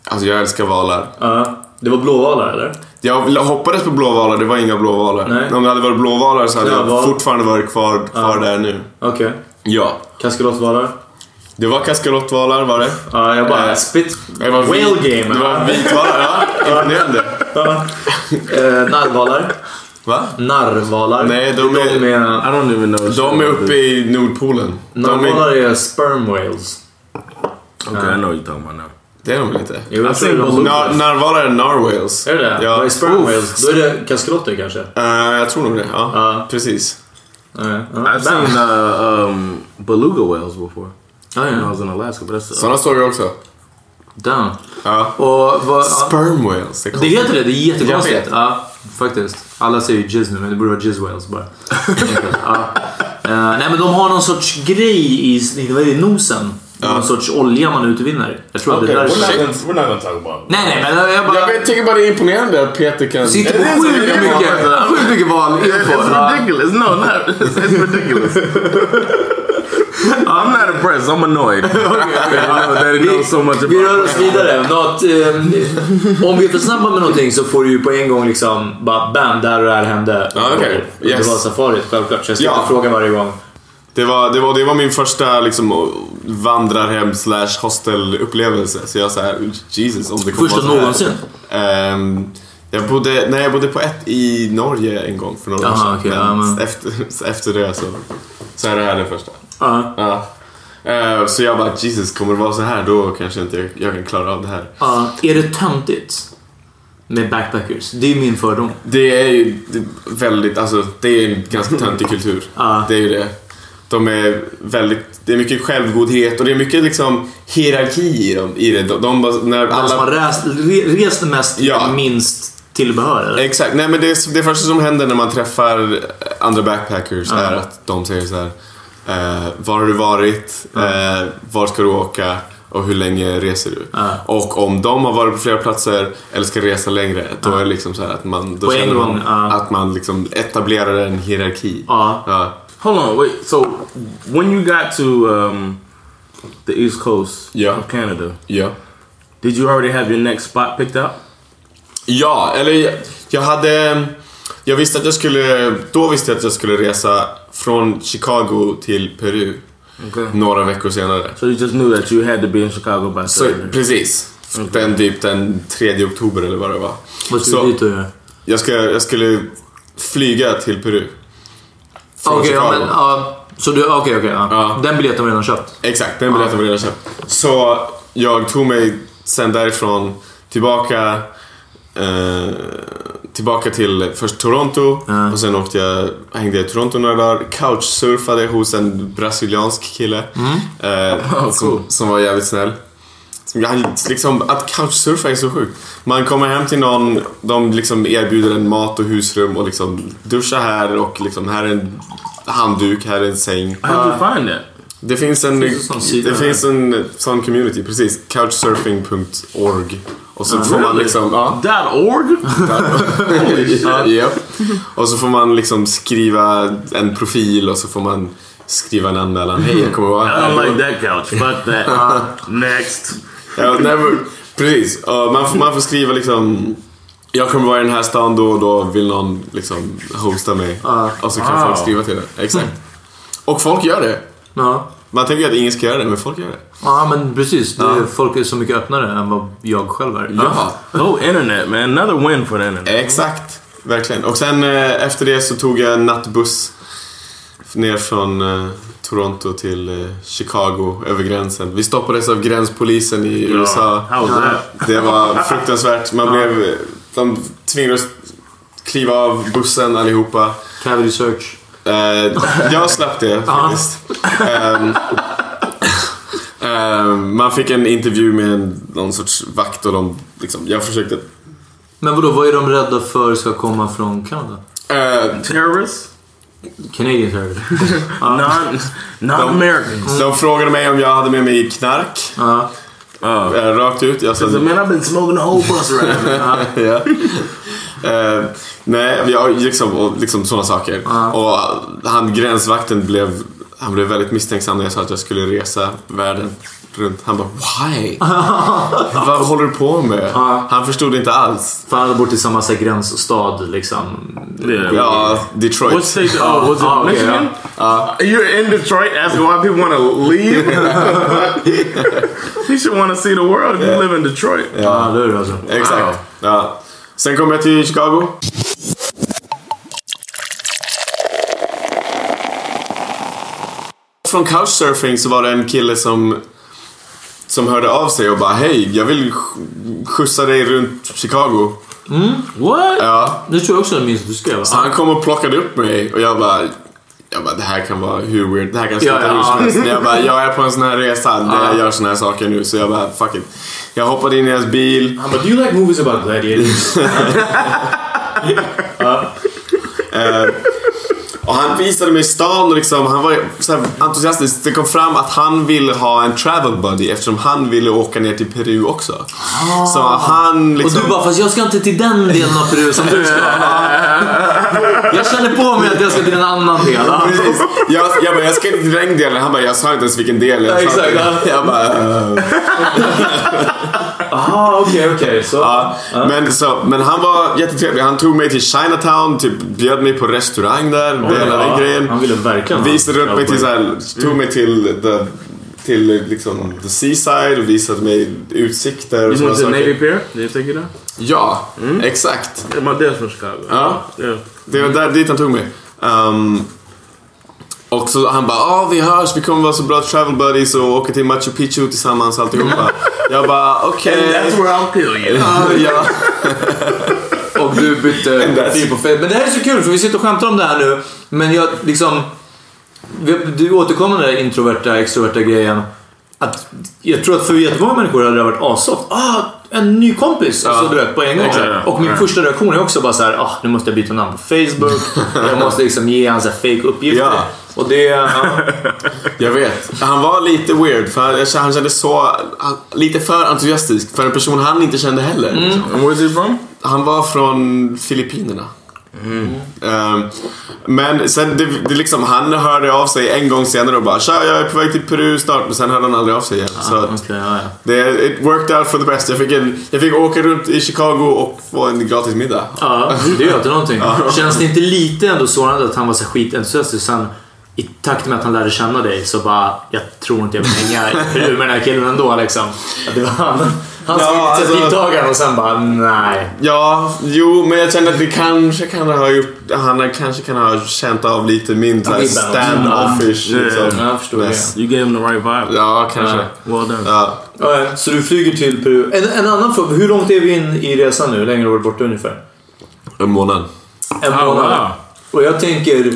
[SPEAKER 1] Alltså jag älskar valar.
[SPEAKER 2] Ja, det var blåvalar eller?
[SPEAKER 1] Jag hoppades på blåvalar, det var inga blåvalar.
[SPEAKER 2] Nej.
[SPEAKER 1] Om det hade varit blåvalar så hade
[SPEAKER 2] Klövval.
[SPEAKER 1] jag fortfarande varit kvar, kvar där nu.
[SPEAKER 2] Okej.
[SPEAKER 1] Ja.
[SPEAKER 2] Kaskelotvalar?
[SPEAKER 1] Det var kaskelottvalar var det.
[SPEAKER 2] Ja, jag bara...
[SPEAKER 1] Eh,
[SPEAKER 2] spit...
[SPEAKER 1] Det var vit-
[SPEAKER 2] Whale game!
[SPEAKER 1] Det var vitvalar, ja. Imponerande.
[SPEAKER 2] Ja. Eh, narvalar.
[SPEAKER 1] Va?
[SPEAKER 2] Narvalar.
[SPEAKER 1] Nej, de är-
[SPEAKER 2] De är,
[SPEAKER 4] I don't even know.
[SPEAKER 1] De är uppe i Nordpolen. De är,
[SPEAKER 2] narvalar är sperm whales.
[SPEAKER 4] Okay, I know what you're talking about now.
[SPEAKER 1] det är de väl inte? Alltså,
[SPEAKER 2] Jo, jag
[SPEAKER 4] ser
[SPEAKER 2] tror de-
[SPEAKER 4] blå-
[SPEAKER 1] Nar- narvalar är narwhales.
[SPEAKER 2] Är det det?
[SPEAKER 1] Ja.
[SPEAKER 2] Vad är sperm
[SPEAKER 1] Oof.
[SPEAKER 2] whales? Då är det kaskelotter kanske?
[SPEAKER 1] Eh, jag tror nog det, ja.
[SPEAKER 2] Ja.
[SPEAKER 1] Precis.
[SPEAKER 2] Ja, ja.
[SPEAKER 4] I've seen uh, um, beluga whales before
[SPEAKER 2] Ja,
[SPEAKER 4] when I
[SPEAKER 2] ja.
[SPEAKER 1] Alltså.
[SPEAKER 4] was in Alaska, but that's uh,
[SPEAKER 1] Sådana såg jag också.
[SPEAKER 2] Damn.
[SPEAKER 1] Ja.
[SPEAKER 2] Och vad...
[SPEAKER 1] Sperm whales.
[SPEAKER 2] Det heter det,
[SPEAKER 1] Jag
[SPEAKER 2] det är jättekonstigt.
[SPEAKER 1] vet.
[SPEAKER 2] Ja, faktiskt. Alla säger ju jizz nu, men det borde vara jizz whales bara. ja. Eh, nej men de har någon sorts grej i vad är det, nosen. Någon sorts olja man utvinner. Jag tror att det där
[SPEAKER 1] we're
[SPEAKER 2] är...
[SPEAKER 1] not-
[SPEAKER 4] gonna, we're not gonna talk about.
[SPEAKER 2] Nej nej men jag bara...
[SPEAKER 1] Jag vet- tycker bara det är imponerande att Peter kan...
[SPEAKER 2] sitter på
[SPEAKER 4] Det är så
[SPEAKER 2] sjukt
[SPEAKER 4] mycket
[SPEAKER 2] mycket,
[SPEAKER 4] val.
[SPEAKER 2] sjukt mycket val
[SPEAKER 4] It's
[SPEAKER 2] info. Ja.
[SPEAKER 4] ridiculous. No, not it's, it's ridiculous. I'm not impressed. I'm annoyed. that he knows so much about.
[SPEAKER 2] Vi rör oss vidare. Något, eh, om vi är för snabba med någonting så får du ju på en gång liksom bara bam, där och där hände.
[SPEAKER 1] Ja, okej.
[SPEAKER 2] Det
[SPEAKER 1] Yes.
[SPEAKER 2] var safarit självklart, så jag ska
[SPEAKER 1] Ja.
[SPEAKER 2] inte fråga varje gång.
[SPEAKER 1] Det var, det var, det var min första liksom, vandrarhem slash hostelupplevelse. Så jag så här, Jesus om det kommer
[SPEAKER 2] Första
[SPEAKER 1] vara så här.
[SPEAKER 2] någonsin?
[SPEAKER 1] Ehm, jag bodde, nej jag bodde på ett i Norge en gång för några år
[SPEAKER 2] Aha,
[SPEAKER 1] sedan.
[SPEAKER 2] okej, ja, men-
[SPEAKER 1] efter, efter det så, så är det här den första.
[SPEAKER 2] Ja.
[SPEAKER 1] Ja. Ehm, så jag bara, Jesus kommer det vara så här då kanske inte jag, jag kan klara av det här.
[SPEAKER 2] Ja, är det töntigt med backpackers? Det är min fördom.
[SPEAKER 1] Det är ju det- väldigt, alltså det är en ganska töntig kultur.
[SPEAKER 2] Ja.
[SPEAKER 1] Det är ju det. De är väldigt, det är mycket självgodhet och det är mycket liksom hierarki i dem. I det. De, de, bara- när
[SPEAKER 2] Alla som har
[SPEAKER 1] alla,
[SPEAKER 2] rest, re- rest mest
[SPEAKER 1] Ja.
[SPEAKER 2] minst tillbehör. eller?
[SPEAKER 1] exakt, nej men det, det första som händer när man träffar andra backpackers är att de säger så här. Eh, var har du varit? Eh, var ska du åka? Och hur länge reser du?
[SPEAKER 2] Ja.
[SPEAKER 1] Och om de har varit på flera platser eller ska resa längre, då är det liksom så här att man, då
[SPEAKER 2] På en
[SPEAKER 1] känner man
[SPEAKER 2] gång, ja.
[SPEAKER 1] att man liksom etablerar en hierarki.
[SPEAKER 2] Ja.
[SPEAKER 1] Ja.
[SPEAKER 4] Hold on, wait. So when you got to um, the East Coast
[SPEAKER 1] Yeah.
[SPEAKER 4] of Canada,
[SPEAKER 1] Ja.
[SPEAKER 4] did you already have your next spot picked out?
[SPEAKER 1] Ja, eller jag, jag hade... Jag visste att jag skulle... Då visste jag att jag skulle resa från Chicago till Peru
[SPEAKER 2] Mm.
[SPEAKER 4] Okay.
[SPEAKER 1] några veckor senare.
[SPEAKER 4] So you just knew that you had to be in Chicago by
[SPEAKER 1] Så
[SPEAKER 4] Saturday.
[SPEAKER 1] Alltså, precis. Den typ den 3 oktober eller vad det var.
[SPEAKER 2] Vad ska
[SPEAKER 1] Så-
[SPEAKER 2] du dit och göra?
[SPEAKER 1] Jag, ska, jag skulle flyga till Peru. Från
[SPEAKER 2] Okej, ja,
[SPEAKER 1] Chicago.
[SPEAKER 2] men... Ja, så du... Okej, okej. ja.
[SPEAKER 1] Ja.
[SPEAKER 2] Den biljetten har vi redan köpt.
[SPEAKER 1] Exakt, den biljetten var redan köpt. Så jag tog mig sen därifrån tillbaka eh, tillbaka till först Toronto
[SPEAKER 2] Ja.
[SPEAKER 1] och sen åkte jag, hängde jag i Toronto några dagar. Couchsurfade hos en brasiliansk kille eh, som, som var jävligt snäll. Som Jag, liksom, att couchsurfa är så sjukt. Man kommer hem till någon, de liksom erbjuder en mat och husrum och liksom duscha här och liksom här är en handduk, här är en säng.
[SPEAKER 4] How'd you find that?
[SPEAKER 1] Det finns en,
[SPEAKER 2] Finns det sån sida?
[SPEAKER 1] det finns en sån community, precis. Couchsurfing.org. Och så får man
[SPEAKER 4] really?
[SPEAKER 1] liksom... Ja.
[SPEAKER 4] Dot org?
[SPEAKER 1] ja, japp. Och så får man liksom skriva en profil och så får man skriva en anmälan. Hej, jag kommer vara
[SPEAKER 4] I
[SPEAKER 1] här.
[SPEAKER 4] don't like that couch. Fuck that.
[SPEAKER 1] uh,
[SPEAKER 4] Next.
[SPEAKER 1] Ja, nej, men- precis. Ja, man, får, man får skriva liksom... Jag kommer vara i den här stan då och då. Vill någon liksom hosta mig? Och så kan folk skriva till det. Exakt. Och folk gör det.
[SPEAKER 2] Ja.
[SPEAKER 1] Man tänker att ingen ska göra det, men folk gör det.
[SPEAKER 2] Ja, men precis. Det, Folk är så mycket öppnare än vad jag själv är.
[SPEAKER 1] Ja.
[SPEAKER 4] Oh, internet, man. Another win for the internet.
[SPEAKER 1] Exakt, verkligen. Och sen eh, efter det så tog jag en nattbuss ner från eh, Toronto till eh, Chicago över gränsen. Vi stoppades av gränspolisen i USA.
[SPEAKER 4] How was that?
[SPEAKER 1] Det var fruktansvärt. Man blev, eh, de tvingades kliva av bussen allihopa.
[SPEAKER 2] Cavity search.
[SPEAKER 1] Eh, jag slapp det faktiskt. Ehm, ehm, man fick en intervju med en- någon sorts vakt och de, liksom, jag försökte...
[SPEAKER 2] Men vadå, vad är de rädda för ska komma från Kanada?
[SPEAKER 1] eh,
[SPEAKER 4] Terrorists?
[SPEAKER 2] Canadian terrorist.
[SPEAKER 4] Non, non-Americans.
[SPEAKER 1] De frågade mig om jag hade med mig knark.
[SPEAKER 2] Ja.
[SPEAKER 1] Eh, Rakt ut. Jag sa
[SPEAKER 4] So, man, I've been smoking the whole bus ride.
[SPEAKER 1] ja. Eh, nej, jag, liksom, och, liksom sådana saker. Och han, gränsvakten blev, han blev väldigt misstänksam när jag sa att jag skulle resa världen runt. Han bara why? Vad håller du på med? Han förstod inte alls.
[SPEAKER 2] För han bor till samma så här gränsstad liksom.
[SPEAKER 1] Ja, Detroit.
[SPEAKER 4] What state? Oh, was it
[SPEAKER 2] Oh, okay,
[SPEAKER 4] Michigan? You're in Detroit asking why people want to leave. you should want to see the world if you live in Detroit.
[SPEAKER 2] Ja, det är det alltså.
[SPEAKER 1] Exakt. Ja. Sen kom jag till Chicago. Från couchsurfing så var det en kille som, som hörde av sig och bara hej, jag vill sk- skjutsa dig runt Chicago.
[SPEAKER 2] What?
[SPEAKER 1] Ja.
[SPEAKER 2] Det tror jag också jag minns att du skrev. va?
[SPEAKER 1] Så han kom och plockade upp mig och jag bara jag bara, det här kan vara hur weird, det här kan
[SPEAKER 2] Ja,
[SPEAKER 1] sluta
[SPEAKER 2] ja.
[SPEAKER 1] hur som helst. Men Jag bara, jag är på en sån här resa där jag gör såna här saker nu så jag bara, fuck it. Jag hoppade in i hans bil.
[SPEAKER 2] Han bara, do you like movies about gladiators?
[SPEAKER 1] Och han visade mig stan och liksom, han var så här entusiastisk. Det kom fram att han ville ha en travel buddy eftersom han ville åka ner till Peru också. Så han
[SPEAKER 2] Ah. Och
[SPEAKER 1] liksom...
[SPEAKER 2] du bara, fast jag ska inte till den delen av Peru som du ska. jag känner på mig att jag ska till en annan del.
[SPEAKER 1] Precis. Jag, jag bara, jag ska inte till regndelen. Han bara, jag sa inte ens vilken del. Jag,
[SPEAKER 2] Ja,
[SPEAKER 1] sa
[SPEAKER 2] exakt,
[SPEAKER 1] inte. jag bara, "Eh."
[SPEAKER 2] Jaha, okej, okej. Så.
[SPEAKER 1] Ja, men, så, men han var jättetrevlig. Han tog mig till Chinatown, typ bjöd mig på restaurang där. Oh, hela den grejen.
[SPEAKER 2] Han ville verkligen
[SPEAKER 1] Visade runt mig till så här, tog mig till the, till liksom the seaside och visade mig utsikter och
[SPEAKER 4] You
[SPEAKER 1] sådana
[SPEAKER 4] went to the Navy
[SPEAKER 1] saker.
[SPEAKER 4] Pier? Did you take it out?
[SPEAKER 1] Ja, exakt.
[SPEAKER 4] Yeah, my dad's from Chicago.
[SPEAKER 1] Ja.
[SPEAKER 4] Yeah.
[SPEAKER 1] Det var där, dit han tog mig. Ehm, och så han bara, ah vi hörs, vi kommer vara så bra travel buddies och åka till Machu Picchu tillsammans alltihopa. jag bara, okej.
[SPEAKER 4] That's where I'll kill you.
[SPEAKER 1] Ja, ja.
[SPEAKER 2] Och du bytte typ
[SPEAKER 1] that's-
[SPEAKER 2] profil på Facebook. Men det här är så kul för vi sitter och skämtar om det här nu. Men jag liksom... vi- du återkommer till den där introverta, extroverta grejen. Att, jag tror att för jättemånga människor hade det varit assoft. Ah, en ny kompis! Och
[SPEAKER 1] Ja.
[SPEAKER 2] så du vet, på en gång.
[SPEAKER 1] Ja, ja, ja.
[SPEAKER 2] och min
[SPEAKER 1] Ja.
[SPEAKER 2] första reaktion är också bara så här, ah, nu måste jag byta namn på Facebook. jag måste liksom ge hans fake uppgifter.
[SPEAKER 1] Ja.
[SPEAKER 2] Och det... Ja.
[SPEAKER 1] Jag vet. Han var lite weird för han, jag kände- han kändes så... Han, lite för entusiastisk för en person han inte kände heller. liksom.
[SPEAKER 4] Mm. And where's he from? Mm.
[SPEAKER 1] Han var från Filippinerna. Ehm, men sen det, det liksom, han hörde av sig en gång senare och bara Tja, jag är på väg till Peru snart. Men sen hörde han aldrig av sig igen.
[SPEAKER 4] Ah,
[SPEAKER 1] Så att
[SPEAKER 2] Okej, ja, ja.
[SPEAKER 1] det, it worked out for the best. Jag fick, en, jag fick åka runt i Chicago och få en gratis middag.
[SPEAKER 2] Ja, det gör inte någonting. Känns det inte lite ändå sårande att han var så skitentusiastisk sen i takt med att han lärde känna dig så bara, jag tror inte jag vill hänga ur med den här killen ändå liksom. Att det var han, han som
[SPEAKER 1] Ja,
[SPEAKER 2] ja,
[SPEAKER 1] alltså-
[SPEAKER 2] initiativtagaren och sen bara, nej.
[SPEAKER 1] Ja, jo, men jag känner att det kanske kan ha gjort... Han kanske kan ha känt av lite min så här
[SPEAKER 2] Vibben.
[SPEAKER 1] stand-offish.
[SPEAKER 4] Mm.
[SPEAKER 1] Liksom.
[SPEAKER 2] Ja, jag förstår
[SPEAKER 1] Yes.
[SPEAKER 4] You gave him the right vibe.
[SPEAKER 1] Ja, kanske.
[SPEAKER 4] Well done.
[SPEAKER 1] Ja.
[SPEAKER 2] det. Ja, ja. Så du flyger till Peru. En, en annan fråga, hur långt är vi in i resan nu? Hur länge har du varit borta ungefär?
[SPEAKER 1] En månad.
[SPEAKER 2] En
[SPEAKER 4] Oh,
[SPEAKER 2] månad.
[SPEAKER 4] wow.
[SPEAKER 2] Och jag tänker,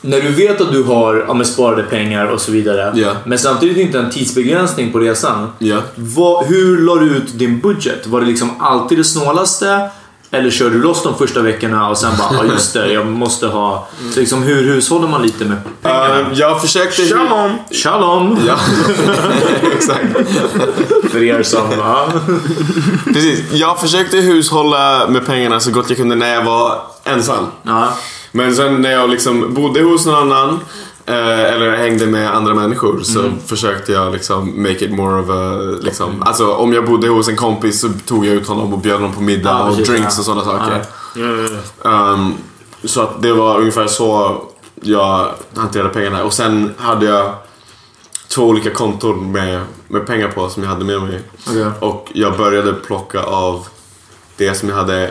[SPEAKER 2] när du vet att du har ja, men sparade pengar och så vidare,
[SPEAKER 1] Ja.
[SPEAKER 2] men samtidigt inte en tidsbegränsning på resan.
[SPEAKER 1] Ja.
[SPEAKER 2] Vad, hur la du ut din budget? Var det liksom alltid det snålaste? Eller kör du loss de första veckorna och sen bara, ja just det, jag måste ha...
[SPEAKER 1] Mm.
[SPEAKER 2] Så liksom, hur hushåller man lite med pengarna?
[SPEAKER 1] Eh, jag försökte...
[SPEAKER 4] Shalom.
[SPEAKER 2] Shalom!
[SPEAKER 1] Ja, exakt.
[SPEAKER 2] För er som... Ja.
[SPEAKER 1] Precis. Jag försökte hushålla med pengarna så gott jag kunde när jag var ensam.
[SPEAKER 2] Ja.
[SPEAKER 1] Men sen när jag liksom bodde hos någon annan eh, eller hängde med andra människor så
[SPEAKER 2] Mm.
[SPEAKER 1] försökte jag liksom make it more of a... Liksom, alltså om jag bodde hos en kompis så tog jag ut honom och bjöd honom på middag
[SPEAKER 2] Ja,
[SPEAKER 1] och
[SPEAKER 2] precis,
[SPEAKER 1] drinks
[SPEAKER 2] ja.
[SPEAKER 1] och sådana saker.
[SPEAKER 4] Yeah, yeah, yeah.
[SPEAKER 1] Ehm, så att det var ungefär så jag hanterade pengarna. Och sen hade jag två olika konton med, med pengar på som jag hade med mig.
[SPEAKER 2] Okej.
[SPEAKER 1] Och jag började plocka av det som jag hade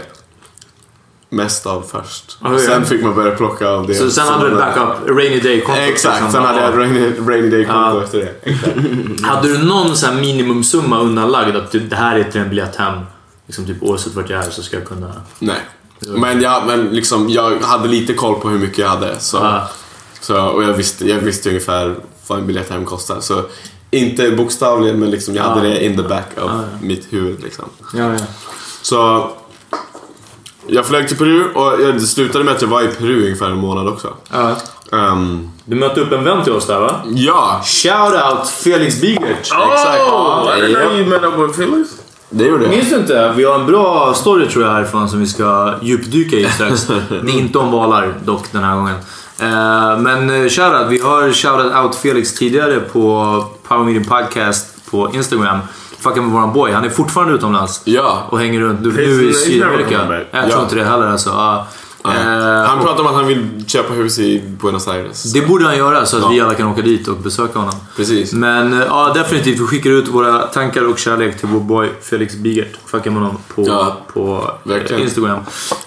[SPEAKER 1] mest av först.
[SPEAKER 2] Okej.
[SPEAKER 1] Sen fick man börja plocka av det.
[SPEAKER 2] Så sen
[SPEAKER 1] som
[SPEAKER 2] hade du ett
[SPEAKER 1] man
[SPEAKER 2] backup, rainy day-konto.
[SPEAKER 1] Exakt,
[SPEAKER 2] liksom.
[SPEAKER 1] sen hade jag ett
[SPEAKER 2] Ja.
[SPEAKER 1] rainy, rainy day-konto
[SPEAKER 2] Ja.
[SPEAKER 1] efter det. Exakt.
[SPEAKER 2] Hade du någon så här minimumsumma undanlagd? Att typ, det här är till en biljett hem. Liksom typ oavsett vart jag är så ska jag kunna...
[SPEAKER 1] Nej. Men, jag, men liksom, jag hade lite koll på hur mycket jag hade. Så.
[SPEAKER 4] Ah.
[SPEAKER 2] Ja.
[SPEAKER 1] Så, och jag visste, jag visste ungefär vad en biljett hem kostar. Så inte bokstavligen, men liksom, jag hade
[SPEAKER 4] Ah.
[SPEAKER 2] Ja.
[SPEAKER 1] det in the back of mitt huvud. Liksom.
[SPEAKER 2] Ja, ja.
[SPEAKER 1] Så jag flög till Peru och jag det slutade med att jag var i Peru ungefär en månad också.
[SPEAKER 4] Ah.
[SPEAKER 1] Ehm,
[SPEAKER 2] Du mötte upp en vän till oss där va?
[SPEAKER 1] ja,
[SPEAKER 2] Shoutout Felix Bigert!
[SPEAKER 1] exakt.
[SPEAKER 4] Oh, I didn't
[SPEAKER 1] Ja,
[SPEAKER 4] know you met up with Felix.
[SPEAKER 1] det gjorde jag.
[SPEAKER 2] Minns du inte? Vi har en bra story tror jag härifrån som vi ska djupdyka i strax. Det är inte om valar dock den här gången. Eh, Men eh, shoutout, vi har shoutout out Felix tidigare på Power Meeting Podcast på Instagram. Fucka med våran boy, han är fortfarande utomlands.
[SPEAKER 1] Ja.
[SPEAKER 2] Och hänger runt nu,
[SPEAKER 4] He's-
[SPEAKER 2] nu i
[SPEAKER 4] he's never
[SPEAKER 2] Sydamerika.
[SPEAKER 4] coming back.
[SPEAKER 2] Jag
[SPEAKER 1] Ja.
[SPEAKER 2] tror inte det heller alltså. Ja. Eh,
[SPEAKER 1] Han pratade om att han vill köpa hus i Buenos Aires.
[SPEAKER 2] Det borde han göra så att
[SPEAKER 1] Ja.
[SPEAKER 2] vi alla kan åka dit och besöka honom.
[SPEAKER 1] Precis.
[SPEAKER 2] Men eh, ja, definitivt. Vi skickar ut våra tankar och kärlek till vår boy Felix Bigert. Fucka med honom på,
[SPEAKER 1] Ja,
[SPEAKER 2] på eh,
[SPEAKER 1] verkligen.
[SPEAKER 2] Instagram.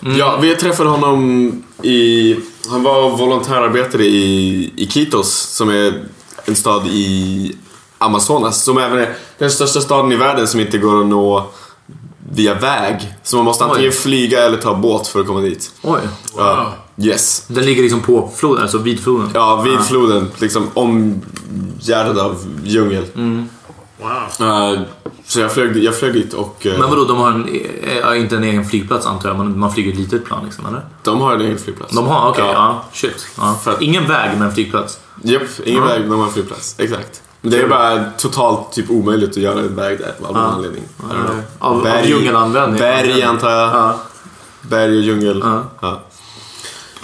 [SPEAKER 2] Mm.
[SPEAKER 1] Ja, vi träffade honom i... Han var volontärarbetare i Iquitos som är en stad i Amazonas. Som även är den största staden i världen som inte går att nå via väg. Så man måste antingen
[SPEAKER 2] Oj.
[SPEAKER 1] flyga eller ta båt för att komma dit.
[SPEAKER 2] Oj.
[SPEAKER 1] Ja. Yes.
[SPEAKER 2] Den ligger liksom på floden, alltså vid floden.
[SPEAKER 1] Ja, vid floden. Liksom omgärdad av djungel.
[SPEAKER 2] Mm.
[SPEAKER 4] Wow.
[SPEAKER 1] Eh, så jag flög, jag flög dit och eh,
[SPEAKER 2] Men vadå, de har en, eh, ja, inte en egen flygplats antar jag, men man flyger ett litet plan liksom, eller?
[SPEAKER 1] de har en egen flygplats.
[SPEAKER 2] De har, okej.
[SPEAKER 1] Ja.
[SPEAKER 2] ja. shit. Ja.
[SPEAKER 1] För att-
[SPEAKER 2] Ingen väg, men en flygplats.
[SPEAKER 1] Japp, ingen väg när man flygplats. Exakt. Men det är bara totalt typ omöjligt att göra en väg där av någon anledning. I don't know.
[SPEAKER 2] Av- av djungelanvändning.
[SPEAKER 1] Berg antar jag.
[SPEAKER 2] Ja.
[SPEAKER 1] Berg och djungel. Ja.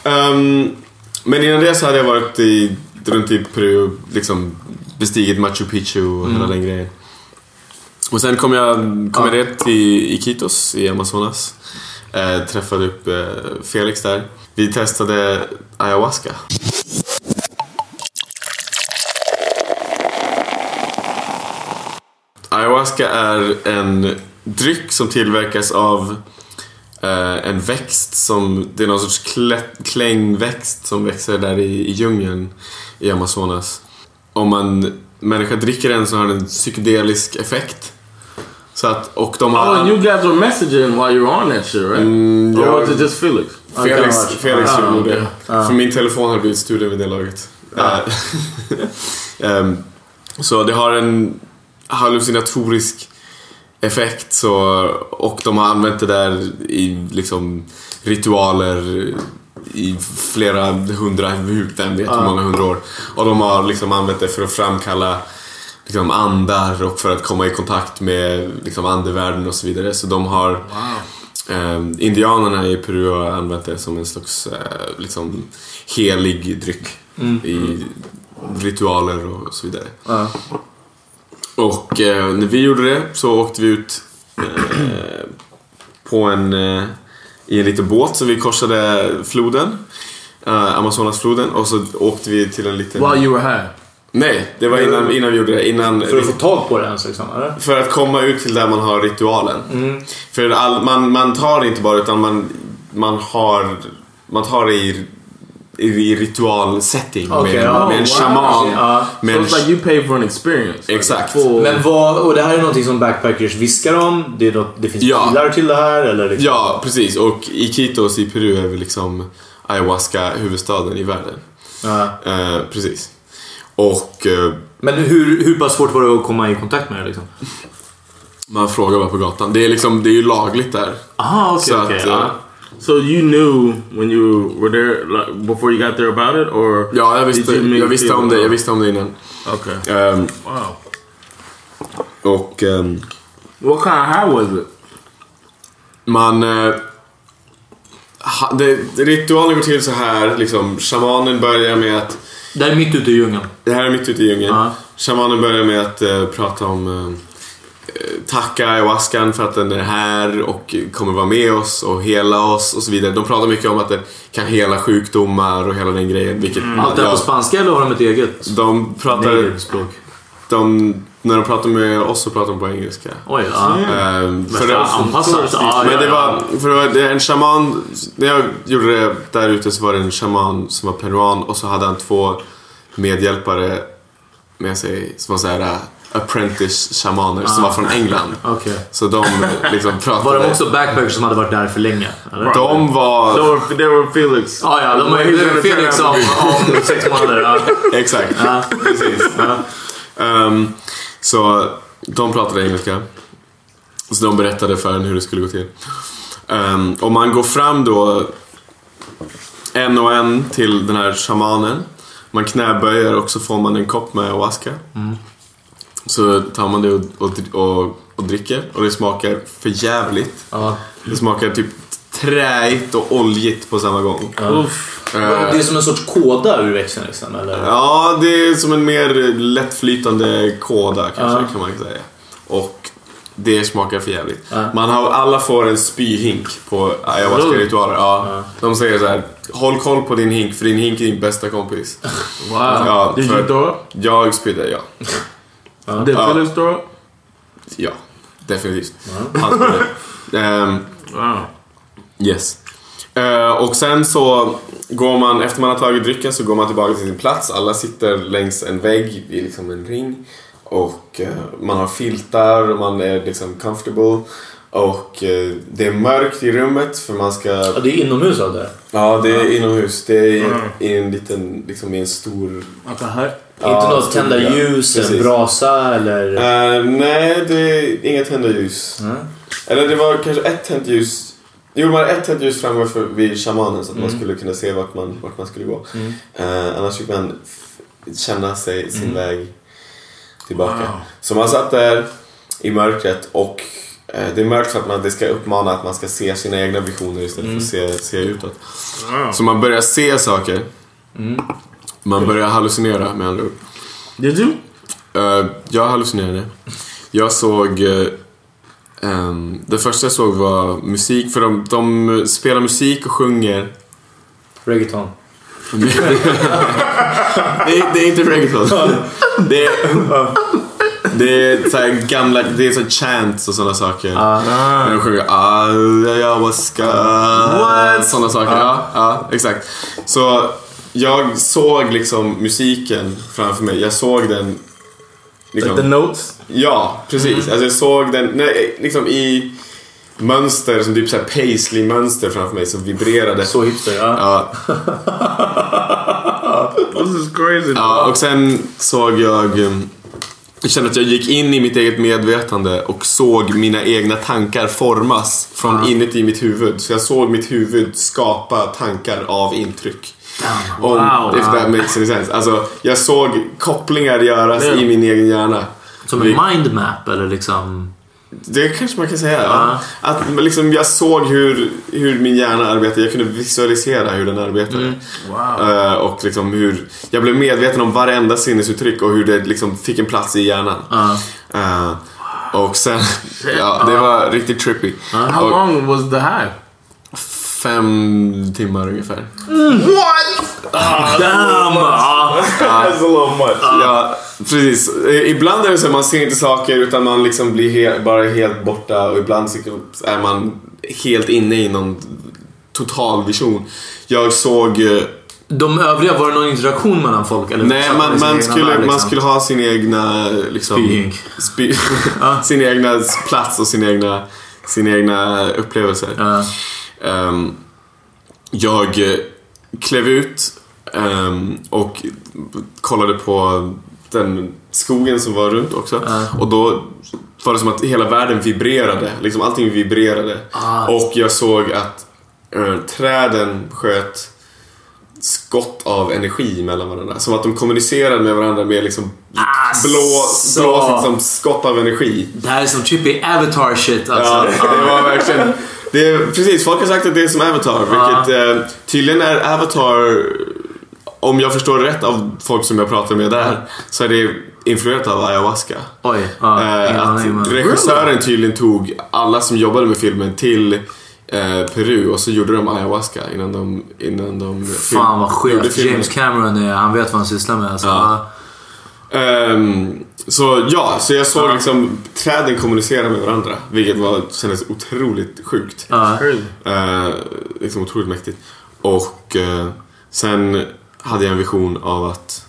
[SPEAKER 1] Ehm, men innan det så hade jag varit i, runt i Peru och liksom bestigit Machu Picchu och
[SPEAKER 2] Mm.
[SPEAKER 1] hela den grejen. Och sen kom jag, kom jag ner till Iquitos i Amazonas. Eh, träffade upp eh, Felix där. Vi testade ayahuasca. Ayahuasca är en dryck som tillverkas av eh, en växt som, det är någon sorts klä, klängväxt som växer där i, i djungeln i Amazonas. Om man människa dricker den så har den en psykedelisk effekt. Så att, och de har...
[SPEAKER 4] Oh, and you guys were messaging while you were on that shit, right?
[SPEAKER 1] Mm,
[SPEAKER 4] or
[SPEAKER 1] ja.
[SPEAKER 4] was it just Felix?
[SPEAKER 1] Felix,
[SPEAKER 2] Kan ha varit.
[SPEAKER 1] Felix
[SPEAKER 4] Ah,
[SPEAKER 1] gjorde det.
[SPEAKER 4] okej.
[SPEAKER 1] För min telefon hade blivit stulen vid det laget. Ehm, så det har en hallucinatorisk effekt så, och de har använt det där i liksom, ritualer i flera hundra, vem vet hur många hundra år. Och de har liksom använt det för att framkalla liksom, andar och för att komma i kontakt med liksom, andevärlden och så vidare. Så de har Eh, indianerna i Peru har använt det som en slags eh, liksom, helig dryck i ritualer och så vidare.
[SPEAKER 2] Ja.
[SPEAKER 1] Och eh, när vi gjorde det så åkte vi ut eh, på en, eh, i en liten båt så vi korsade floden. Eh, Amazonasfloden och så åkte vi till en liten...
[SPEAKER 2] While you were here.
[SPEAKER 1] Nej, det var innan, innan vi gjorde det. Innan
[SPEAKER 2] För att få tag på det ens liksom, eller?
[SPEAKER 1] för att komma ut till där man har ritualen.
[SPEAKER 2] Mm.
[SPEAKER 1] För all, man, man tar inte bara utan man, man har man tar det i, i, i ritualsetting
[SPEAKER 2] Okej,
[SPEAKER 1] med,
[SPEAKER 2] ja,
[SPEAKER 1] med en
[SPEAKER 2] wow.
[SPEAKER 1] shaman.
[SPEAKER 2] Ja.
[SPEAKER 1] Med
[SPEAKER 4] So
[SPEAKER 1] en,
[SPEAKER 4] it's like you pay for an experience. Like,
[SPEAKER 1] Exakt.
[SPEAKER 4] full-
[SPEAKER 2] Men vad, och det här är någonting som backpackers viskar om? Det, är något, det finns
[SPEAKER 1] Ja.
[SPEAKER 2] pilar till det här? Eller liksom,
[SPEAKER 1] ja, precis. Och Iquitos i Peru är väl liksom ayahuasca huvudstaden i världen.
[SPEAKER 2] Ja.
[SPEAKER 1] Eh, precis. Och eh,
[SPEAKER 2] Men hur, hur pass svårt var det att komma i kontakt med det liksom?
[SPEAKER 1] man frågar bara på gatan. Det är, liksom, det är ju lagligt där.
[SPEAKER 4] Ah,
[SPEAKER 2] Aha, okej.
[SPEAKER 1] Så
[SPEAKER 2] okej,
[SPEAKER 1] att,
[SPEAKER 2] ja.
[SPEAKER 1] eh,
[SPEAKER 4] So you knew when you were there, like, before you got there about it, or
[SPEAKER 1] Ja, jag
[SPEAKER 4] did
[SPEAKER 1] visste,
[SPEAKER 4] you make
[SPEAKER 1] jag
[SPEAKER 4] it
[SPEAKER 1] visste
[SPEAKER 4] feel-
[SPEAKER 1] om det. Jag visste om det innan.
[SPEAKER 4] Okay.
[SPEAKER 1] Ehm,
[SPEAKER 4] Wow.
[SPEAKER 1] och... ehm,
[SPEAKER 4] What kind of high was it?
[SPEAKER 1] Man... eh, ha- Det, ritualen går till så här, liksom, shamanen börjar med att...
[SPEAKER 2] Det här är mitt ute i djungeln.
[SPEAKER 1] Det här är mitt ute i djungeln.
[SPEAKER 2] Ja.
[SPEAKER 1] Shamanen börjar med att eh, prata om... eh, eh, tacka ayahuascan för att den är här och kommer vara med oss och hela oss och så vidare. De pratar mycket om att den kan hela sjukdomar och hela den grejen. Vilket,
[SPEAKER 2] Mm. Allt det här
[SPEAKER 1] ja,
[SPEAKER 2] på spanska eller har de ett eget?
[SPEAKER 1] de pratar...
[SPEAKER 2] Eget språk.
[SPEAKER 1] De, när de pratar med oss så pratar de på engelska.
[SPEAKER 2] Oj, ja.
[SPEAKER 1] Ehm, för
[SPEAKER 2] Nästan
[SPEAKER 1] det-
[SPEAKER 2] anpassat. Ja,
[SPEAKER 1] Men
[SPEAKER 2] ja,
[SPEAKER 1] det
[SPEAKER 2] ja.
[SPEAKER 1] var, för det var det är en shaman, när jag gjorde det där ute så var det en shaman som var peruan och så hade han två medhjälpare med sig som var såhär äh, apprentice shamaner som var från England.
[SPEAKER 2] Ah. Okej.
[SPEAKER 1] Så de liksom pratade.
[SPEAKER 2] Var de också backpackers som hade varit där för länge? Eller?
[SPEAKER 1] De var,
[SPEAKER 4] They were, they were Felix.
[SPEAKER 2] Ja, ja, de har ju
[SPEAKER 4] Wait,
[SPEAKER 2] blivit Felix om, om sex månader. Ja.
[SPEAKER 1] exakt. Precis. Ehm, så de pratade engelska. Så de berättade för en hur det skulle gå till. Ehm, och man går fram då en och en till den här shamanen. Man knäböjer och så får man en kopp med ayahuasca.
[SPEAKER 2] Mm.
[SPEAKER 1] Så tar man det och, och, och, och dricker och det smakar för jävligt.
[SPEAKER 2] Ja.
[SPEAKER 1] Det smakar typ träigt och oljigt på samma gång. Ehm,
[SPEAKER 2] Uff. Det är som en sorts kåda ur växeln liksom, eller?
[SPEAKER 1] Ja, det är som en mer lättflytande kåda kanske kan man säga. Och det smakar för jävligt. Man har, alla får en spyhink på ayahuasca-ritualer. Ja, De säger så här: håll koll på din hink för din hink är din bästa kompis.
[SPEAKER 4] Wow.
[SPEAKER 1] Ja,
[SPEAKER 4] Did
[SPEAKER 1] för-
[SPEAKER 4] you throw up?
[SPEAKER 1] Jag spydde, ja.
[SPEAKER 4] Did Felix throw up?
[SPEAKER 1] Ja, definitivt. Han spydde. Ehm,
[SPEAKER 4] Wow.
[SPEAKER 1] Yes. Eh, och sen så går man, efter man har tagit drycken så går man tillbaka till sin plats. Alla sitter längs en vägg i liksom en ring. Och eh, man har filtar, man är liksom comfortable. Och eh, det är mörkt i rummet för man ska...
[SPEAKER 2] Ja, det är inomhus av det.
[SPEAKER 1] Ja, det är inomhus. Det är i, i en liten, liksom i en stor...
[SPEAKER 2] Inte något
[SPEAKER 1] stor
[SPEAKER 2] tända
[SPEAKER 1] del.
[SPEAKER 2] ljus, en
[SPEAKER 1] Precis.
[SPEAKER 2] brasa eller...
[SPEAKER 1] Eh, nej, det är inga tända ljus. Eller det var kanske ett tänt ljus. Jo, man hade ett tänt ljus framme för, vid shamanen så att man skulle kunna se vart man, vart man skulle gå. Eh, annars fick man f- känna sig sin väg tillbaka. Så man satt där i mörkret och eh, det är mörkt för att man, det ska uppmana att man ska se sina egna visioner istället för att se, se utåt. Så man börjar se saker. Man börjar hallucinera med andra ord.
[SPEAKER 4] Did you?
[SPEAKER 1] Eh, jag hallucinerade. Jag såg... eh, ehm, det första jag såg var musik, för de, de spelar musik och sjunger.
[SPEAKER 2] Reggaeton.
[SPEAKER 1] Det är, det är inte reggaeton. Det är, det är så här gamla, det är så här chants och sådana saker. När de sjunger ayahuasca. What? Sådana saker. Ja, ja, exakt. Så jag såg liksom musiken framför mig. Jag såg den. liksom-
[SPEAKER 4] The notes?
[SPEAKER 1] Ja, precis.
[SPEAKER 2] Mm.
[SPEAKER 1] Alltså jag såg den nej, liksom i mönster, som typ så här paisley-mönster framför mig som vibrerade.
[SPEAKER 2] Så hipster, ja.
[SPEAKER 1] Ja.
[SPEAKER 4] this is crazy.
[SPEAKER 1] Ja, och sen såg jag... eh, Jag kände att jag gick in i mitt eget medvetande och såg mina egna tankar formas från inuti mitt huvud. Så jag såg mitt huvud skapa tankar av intryck. Om,
[SPEAKER 2] Wow.
[SPEAKER 1] If that makes any sense. Alltså, jag såg kopplingar göras
[SPEAKER 2] Ja.
[SPEAKER 1] i min egen hjärna.
[SPEAKER 2] Som en
[SPEAKER 1] Vi-
[SPEAKER 2] mindmap eller liksom...
[SPEAKER 1] Det kanske man kan säga. Ja. Att men liksom jag såg hur, hur min hjärna arbetade. Jag kunde visualisera hur den arbetade. Eh, och liksom hur, jag blev medveten om varenda sinnesuttryck och hur det liksom fick en plats i hjärnan. Eh, och sen, ja, det var riktigt trippy.
[SPEAKER 4] How
[SPEAKER 1] Och
[SPEAKER 4] long was the high?
[SPEAKER 1] fem timmar ungefär.
[SPEAKER 2] Damn! Ja.
[SPEAKER 4] That's a little much.
[SPEAKER 1] Ah. Ja, precis. Eh, Ibland är det så att man ser inte saker utan man liksom blir he- bara helt borta och ibland så är man helt inne i någon total vision. Jag såg... eh,
[SPEAKER 2] De övriga, var det någon interaktion mellan folk? Eller
[SPEAKER 1] Nej,
[SPEAKER 2] satt i
[SPEAKER 1] man,
[SPEAKER 2] sin
[SPEAKER 1] man,
[SPEAKER 2] egna
[SPEAKER 1] skulle,
[SPEAKER 2] värld,
[SPEAKER 1] man
[SPEAKER 2] liksom?
[SPEAKER 1] skulle ha sin egna... Liksom,
[SPEAKER 2] Spygink.
[SPEAKER 1] spy,
[SPEAKER 2] Ah.
[SPEAKER 1] sin egna plats och sin egna, sin egna upplevelser.
[SPEAKER 2] Ja.
[SPEAKER 1] Ehm, jag eh, klev ut ehm, och kollade på den skogen som var runt också. Och då var det som att hela världen vibrerade. Liksom allting vibrerade. Och jag såg att eh, träden sköt skott av energi mellan varandra. Som att de kommunicerade med varandra med liksom blå,
[SPEAKER 2] Asså.
[SPEAKER 1] blå liksom, skott av energi.
[SPEAKER 2] Det här är som trippy avatar shit
[SPEAKER 1] Ja,
[SPEAKER 2] alltså.
[SPEAKER 1] det var verkligen... Det är, precis, folk har sagt att det är som Avatar, vilket eh, tydligen är Avatar, om jag förstår rätt av folk som jag pratar med där, så är det influerat av ayahuasca.
[SPEAKER 2] Oj. Ja, ingen
[SPEAKER 1] Eh,
[SPEAKER 2] aning, men-
[SPEAKER 1] att regissören tydligen tog alla som jobbade med filmen till eh, Peru och så gjorde de ayahuasca innan de, innan de film-
[SPEAKER 2] Fan vad
[SPEAKER 1] gjorde
[SPEAKER 2] skevt.
[SPEAKER 1] filmen.
[SPEAKER 2] James Cameron är, han vet vad han sysslar med alltså.
[SPEAKER 1] Ja. Ehm, så ja, så jag såg liksom träden kommunicera med varandra. Vilket var, kändes otroligt sjukt.
[SPEAKER 2] Ja.
[SPEAKER 1] Eh, liksom otroligt mäktigt. Och eh, sen hade jag en vision av att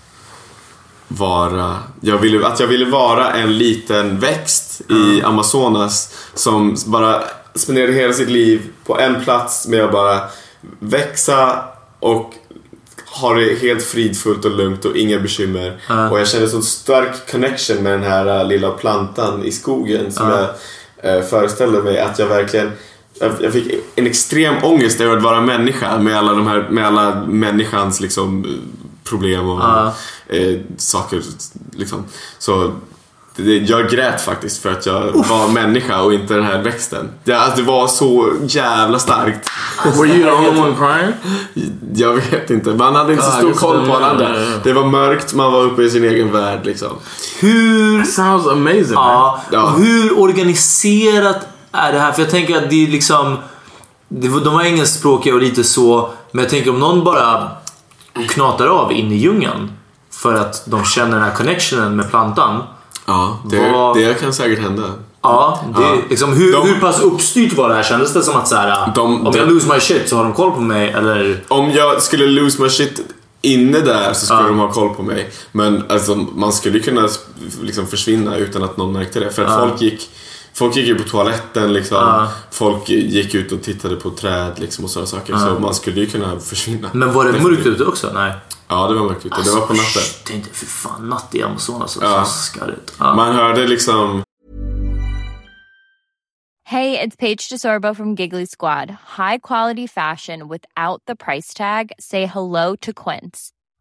[SPEAKER 1] vara, jag ville, att jag ville vara en liten växt i Amazonas som bara spenderade hela sitt liv på en plats med att bara växa och ha det helt fridfullt och lugnt och inga bekymmer. Och jag kände sån stark connection med den här äh, lilla plantan i skogen som jag äh, föreställde mig att jag verkligen jag jag fick en extrem ångest över att vara människa med alla, de här, med alla människans liksom, eh, problem och eh, saker. Liksom. Så det, jag grät faktiskt för att jag var människa och inte den här växten. Det, alltså, det var så jävla starkt.
[SPEAKER 4] Alltså, Were you the only one crying?
[SPEAKER 1] Jag vet inte, man hade inte så
[SPEAKER 4] Ja,
[SPEAKER 1] stor
[SPEAKER 4] just
[SPEAKER 1] koll
[SPEAKER 4] det.
[SPEAKER 1] på varandra.
[SPEAKER 4] Ja, ja, ja.
[SPEAKER 1] Det var mörkt, man var uppe i sin egen värld liksom.
[SPEAKER 2] Hur...
[SPEAKER 4] Sounds amazing.
[SPEAKER 2] Ja.
[SPEAKER 1] Ja.
[SPEAKER 2] Hur organiserat är det här? För jag tänker att det är liksom... det var- De var engelskspråkiga och lite så. Men jag tänker om någon bara knatar av in i djungeln. För att de känner den här connectionen med plantan.
[SPEAKER 1] Ja, det,
[SPEAKER 2] Vad-
[SPEAKER 1] det kan säkert hända.
[SPEAKER 2] Ja, det,
[SPEAKER 1] Ja.
[SPEAKER 2] Liksom, hur,
[SPEAKER 1] De-
[SPEAKER 2] hur pass uppstyrt var det här? Kändes det som att så här, äh,
[SPEAKER 1] De-
[SPEAKER 2] om jag
[SPEAKER 1] de-
[SPEAKER 2] lose my shit så har de koll på mig? Eller?
[SPEAKER 1] Om jag skulle lose my shit inne där så skulle
[SPEAKER 2] Ja.
[SPEAKER 1] de ha koll på mig. Men alltså, man skulle kunna liksom, försvinna utan att någon märkte det. För att folk gick Folk gick ju på toaletten liksom. Folk gick ut och tittade på träd liksom, och sådana saker. Så man skulle ju kunna försvinna.
[SPEAKER 2] Men var det
[SPEAKER 1] Definitivt.
[SPEAKER 2] mörkt ute Ah, också? Nej. Alltså,
[SPEAKER 1] Ja, det var mörkt ute. Det var på natten.
[SPEAKER 2] Shh, tänkte, fy fan, natt i Amazonas. Alltså,
[SPEAKER 1] Ja.
[SPEAKER 2] så skarrigt. Ja.
[SPEAKER 1] Man hörde liksom
[SPEAKER 3] Hey, it's Paige DeSorbo from Giggly Squad. High quality fashion without the price tag. Say hello to Quince.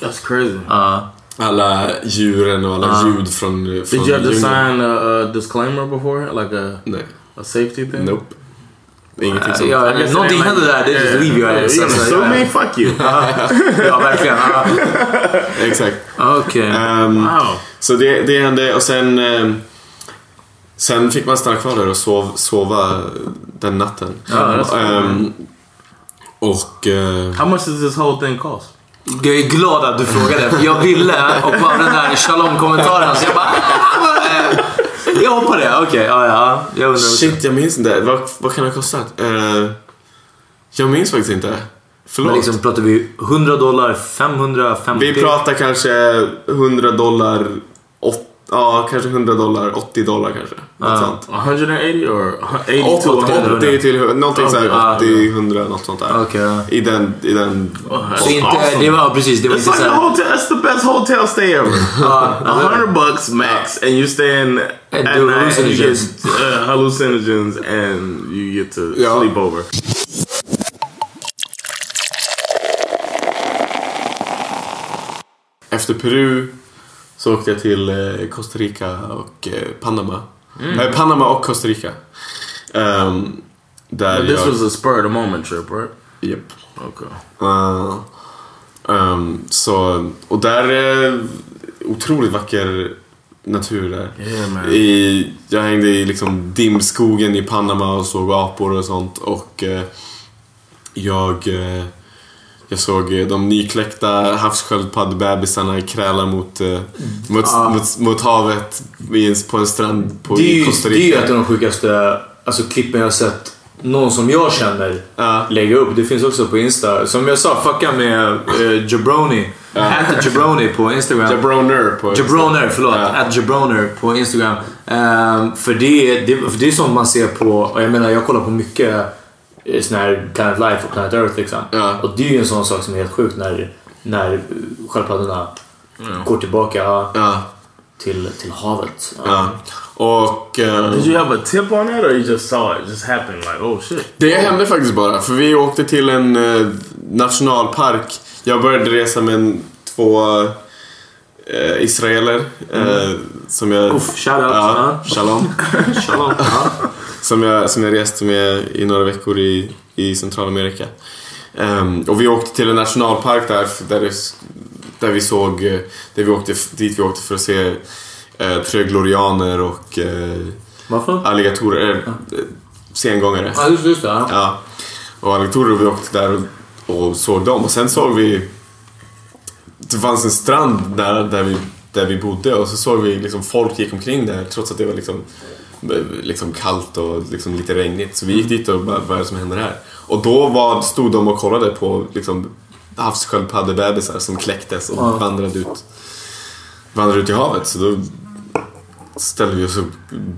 [SPEAKER 4] That's crazy.
[SPEAKER 1] Alla djuren och alla
[SPEAKER 4] Uh,
[SPEAKER 1] ljud från, från
[SPEAKER 4] Did you have to
[SPEAKER 1] djungeln.
[SPEAKER 4] sign a, a disclaimer before? Like a a safety thing? Uh, Nope.
[SPEAKER 1] Ingenting sånt.
[SPEAKER 4] ja,
[SPEAKER 1] I guess
[SPEAKER 4] någonting
[SPEAKER 1] they
[SPEAKER 4] händer
[SPEAKER 1] might-
[SPEAKER 4] där, they just
[SPEAKER 1] Yeah.
[SPEAKER 4] leave your
[SPEAKER 1] Yeah,
[SPEAKER 4] ass.
[SPEAKER 1] you're gonna
[SPEAKER 4] Alltså,
[SPEAKER 1] sue
[SPEAKER 4] ja.
[SPEAKER 1] me? Fuck you.
[SPEAKER 4] ja, verkligen. Ja.
[SPEAKER 1] Exakt.
[SPEAKER 4] Okej.
[SPEAKER 1] Ehm, Så det, det hände och sen... ehm, sen fick man stanna kvar där och sov, sova den natten.
[SPEAKER 4] Ja, that's cool.
[SPEAKER 1] Ehm, och... eh,
[SPEAKER 4] How much does this whole thing cost?
[SPEAKER 2] Jag är glad att du frågade. för Jag ville och bara den där shalom-kommentaren. Så jag bara... "Ah!" Jag hoppade. Okej, ja, ja. Jag undrar också.
[SPEAKER 1] Shit, jag minns inte. Vad, vad kan det ha kostat? Eh, jag minns faktiskt inte. Förlåt.
[SPEAKER 2] Men liksom pratar vi 100 dollar, 550?
[SPEAKER 1] Vi pratar kanske 100 dollar... Åt, ja, kanske 100 dollar, 80 dollar kanske.
[SPEAKER 2] Ah.
[SPEAKER 1] Något sånt.
[SPEAKER 4] 180 or 80
[SPEAKER 1] 80, 80 till 100, någonting
[SPEAKER 4] Okay.
[SPEAKER 1] såhär
[SPEAKER 4] Ah,
[SPEAKER 1] 80, 100, något sånt där. I den... I den
[SPEAKER 2] Så inte, det var precis, det var
[SPEAKER 4] It's
[SPEAKER 2] inte
[SPEAKER 4] like a
[SPEAKER 2] såhär...
[SPEAKER 4] hotel. That's the best hotel stay ever. Uh, A hundred bucks max, and you stay in
[SPEAKER 2] And
[SPEAKER 4] at
[SPEAKER 2] do
[SPEAKER 4] night, and you get
[SPEAKER 2] hallucinogens.
[SPEAKER 4] uh, hallucinogens, and you get to sleep over.
[SPEAKER 1] Efter Peru så åkte jag till eh, Costa Rica och eh, Panama.
[SPEAKER 4] Mm.
[SPEAKER 1] Eh, Panama och Costa Rica. Ehm, där
[SPEAKER 4] But this
[SPEAKER 1] jag...
[SPEAKER 4] was Oh. a spur of the moment trip, right?
[SPEAKER 1] Yep.
[SPEAKER 4] Okay.
[SPEAKER 1] Eh, ehm, så, och där... eh, otroligt vacker natur där.
[SPEAKER 4] Yeah, man.
[SPEAKER 1] I, jag hängde i liksom dimskogen i Panama och såg apor och sånt och eh, jag, eh, jag såg eh, de nykläckta havssköldpaddbebisarna kräla mot, eh, mot,
[SPEAKER 2] Ah.
[SPEAKER 1] mot, mot havet i en- på en strand på,
[SPEAKER 2] det, är
[SPEAKER 1] i
[SPEAKER 2] ju,
[SPEAKER 1] Costa
[SPEAKER 2] det är ju
[SPEAKER 1] Rica.
[SPEAKER 2] ett av de sjukaste alltså, klippen jag har sett någon som jag känner lägga upp. Det finns också på Insta. Som jag sa, fucka med eh, Jabroni. At Jabroni på Instagram.
[SPEAKER 1] Jabroner på Insta.
[SPEAKER 2] Jabroner, förlåt. At Jabroner på Instagram. Ehm, för, det, är- det, för det är sånt man ser på, och jag menar jag kollar på mycket eh, sån här Planet Life och Planet Earth liksom. Och det är ju en sån sak som är helt sjuk när, när eh, sköldpaddorna går tillbaka till, till havet.
[SPEAKER 1] Ja. Och... eh,
[SPEAKER 4] Did you have a tip on it, or you just saw it? It just happened, like, oh shit.
[SPEAKER 1] Det hände faktiskt bara, för vi åkte till en eh, nationalpark. Jag började resa med en, två eh, israeler. Eh, som jag...
[SPEAKER 2] Mm. Uff, shout out.
[SPEAKER 1] Ja, shalom.
[SPEAKER 2] Shalom.
[SPEAKER 1] som, jag, som jag reste med i några veckor i, i Centralamerika. Ehm, och vi åkte till en nationalpark där, där, det, där vi såg, eh, där vi åkte, dit vi åkte för att se eh, tröglorianer och eh, alligatorer, eh, eh, sengångare.
[SPEAKER 2] Ja, just, uh-huh. just det. Ja.
[SPEAKER 1] Ja. Och alligatorer och vi åkte där och, och såg dem och sen såg vi det fanns en strand där, där, vi, där vi bodde och så såg vi liksom folk gick omkring där trots att det var liksom, liksom kallt och liksom lite regnigt. Så vi gick dit och bara, vad är det som händer här? Och då var, stod de och kollade på liksom, havssköldpaddebebisar som kläcktes och
[SPEAKER 2] Ja.
[SPEAKER 1] vandrade, ut, vandrade ut i havet. Så då ställde vi oss och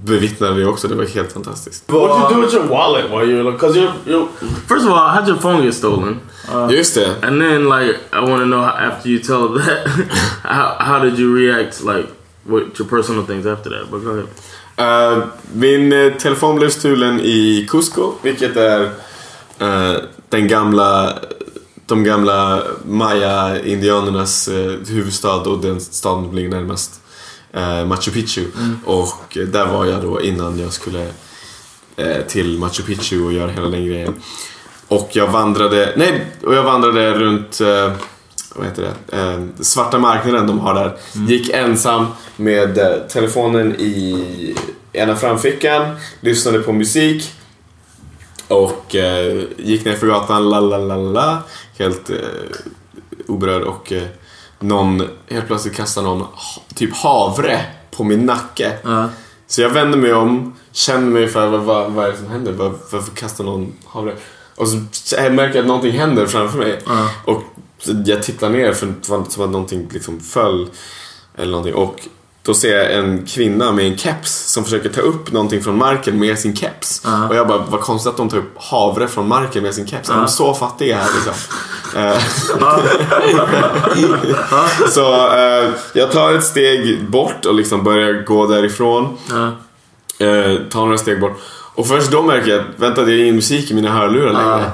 [SPEAKER 1] bevittnade det också. Det var helt fantastiskt.
[SPEAKER 4] What'd you do with your wallet while you were like? Cause you, you, first of all, how'd your phone get stolen? Uh,
[SPEAKER 1] Used to.
[SPEAKER 4] And then, like, I want to know how, after you tell that, how, how did you react? Like, with your personal things after that? But go ahead.
[SPEAKER 1] Eh, min eh, telefon blev stulen i Cusco, vilket är eh, den gamla, de gamla maya-indianernas eh, huvudstad och den staden som ligger närmast eh, Machu Picchu.
[SPEAKER 2] Mm.
[SPEAKER 1] Och eh, där var jag då innan jag skulle eh, till Machu Picchu och göra hela den grejen. Och jag vandrade, nej, och jag vandrade runt eh, vad heter det? Eh, svarta marknaden de har där. Gick ensam med eh, telefonen i ena framfickan, lyssnade på musik och eh, gick ner för gatan, la la la la, helt eh, oberörd och eh, någon, helt plötsligt kastade någon ha- typ havre på min nacke. Så jag vände mig om, kände mig för vad, vad, vad är det som händer? Var, varför kastar någon havre? Och så jag märker jag att någonting händer framför mig. Och så jag tittar ner för det var som att någonting liksom föll. Eller någonting. Och då ser jag en kvinna med en keps som försöker ta upp någonting från marken med sin keps.
[SPEAKER 2] Ja.
[SPEAKER 1] Och jag bara, vad konstigt att de tar upp havre från marken med sin keps.
[SPEAKER 2] Ja.
[SPEAKER 1] De är så fattiga här liksom. Eh, så eh, jag tar ett steg bort och liksom börjar gå därifrån.
[SPEAKER 2] Ja.
[SPEAKER 1] Eh, tar några steg bort. Och först då märker jag att vänta, det är ingen musik i mina hörlurar längre.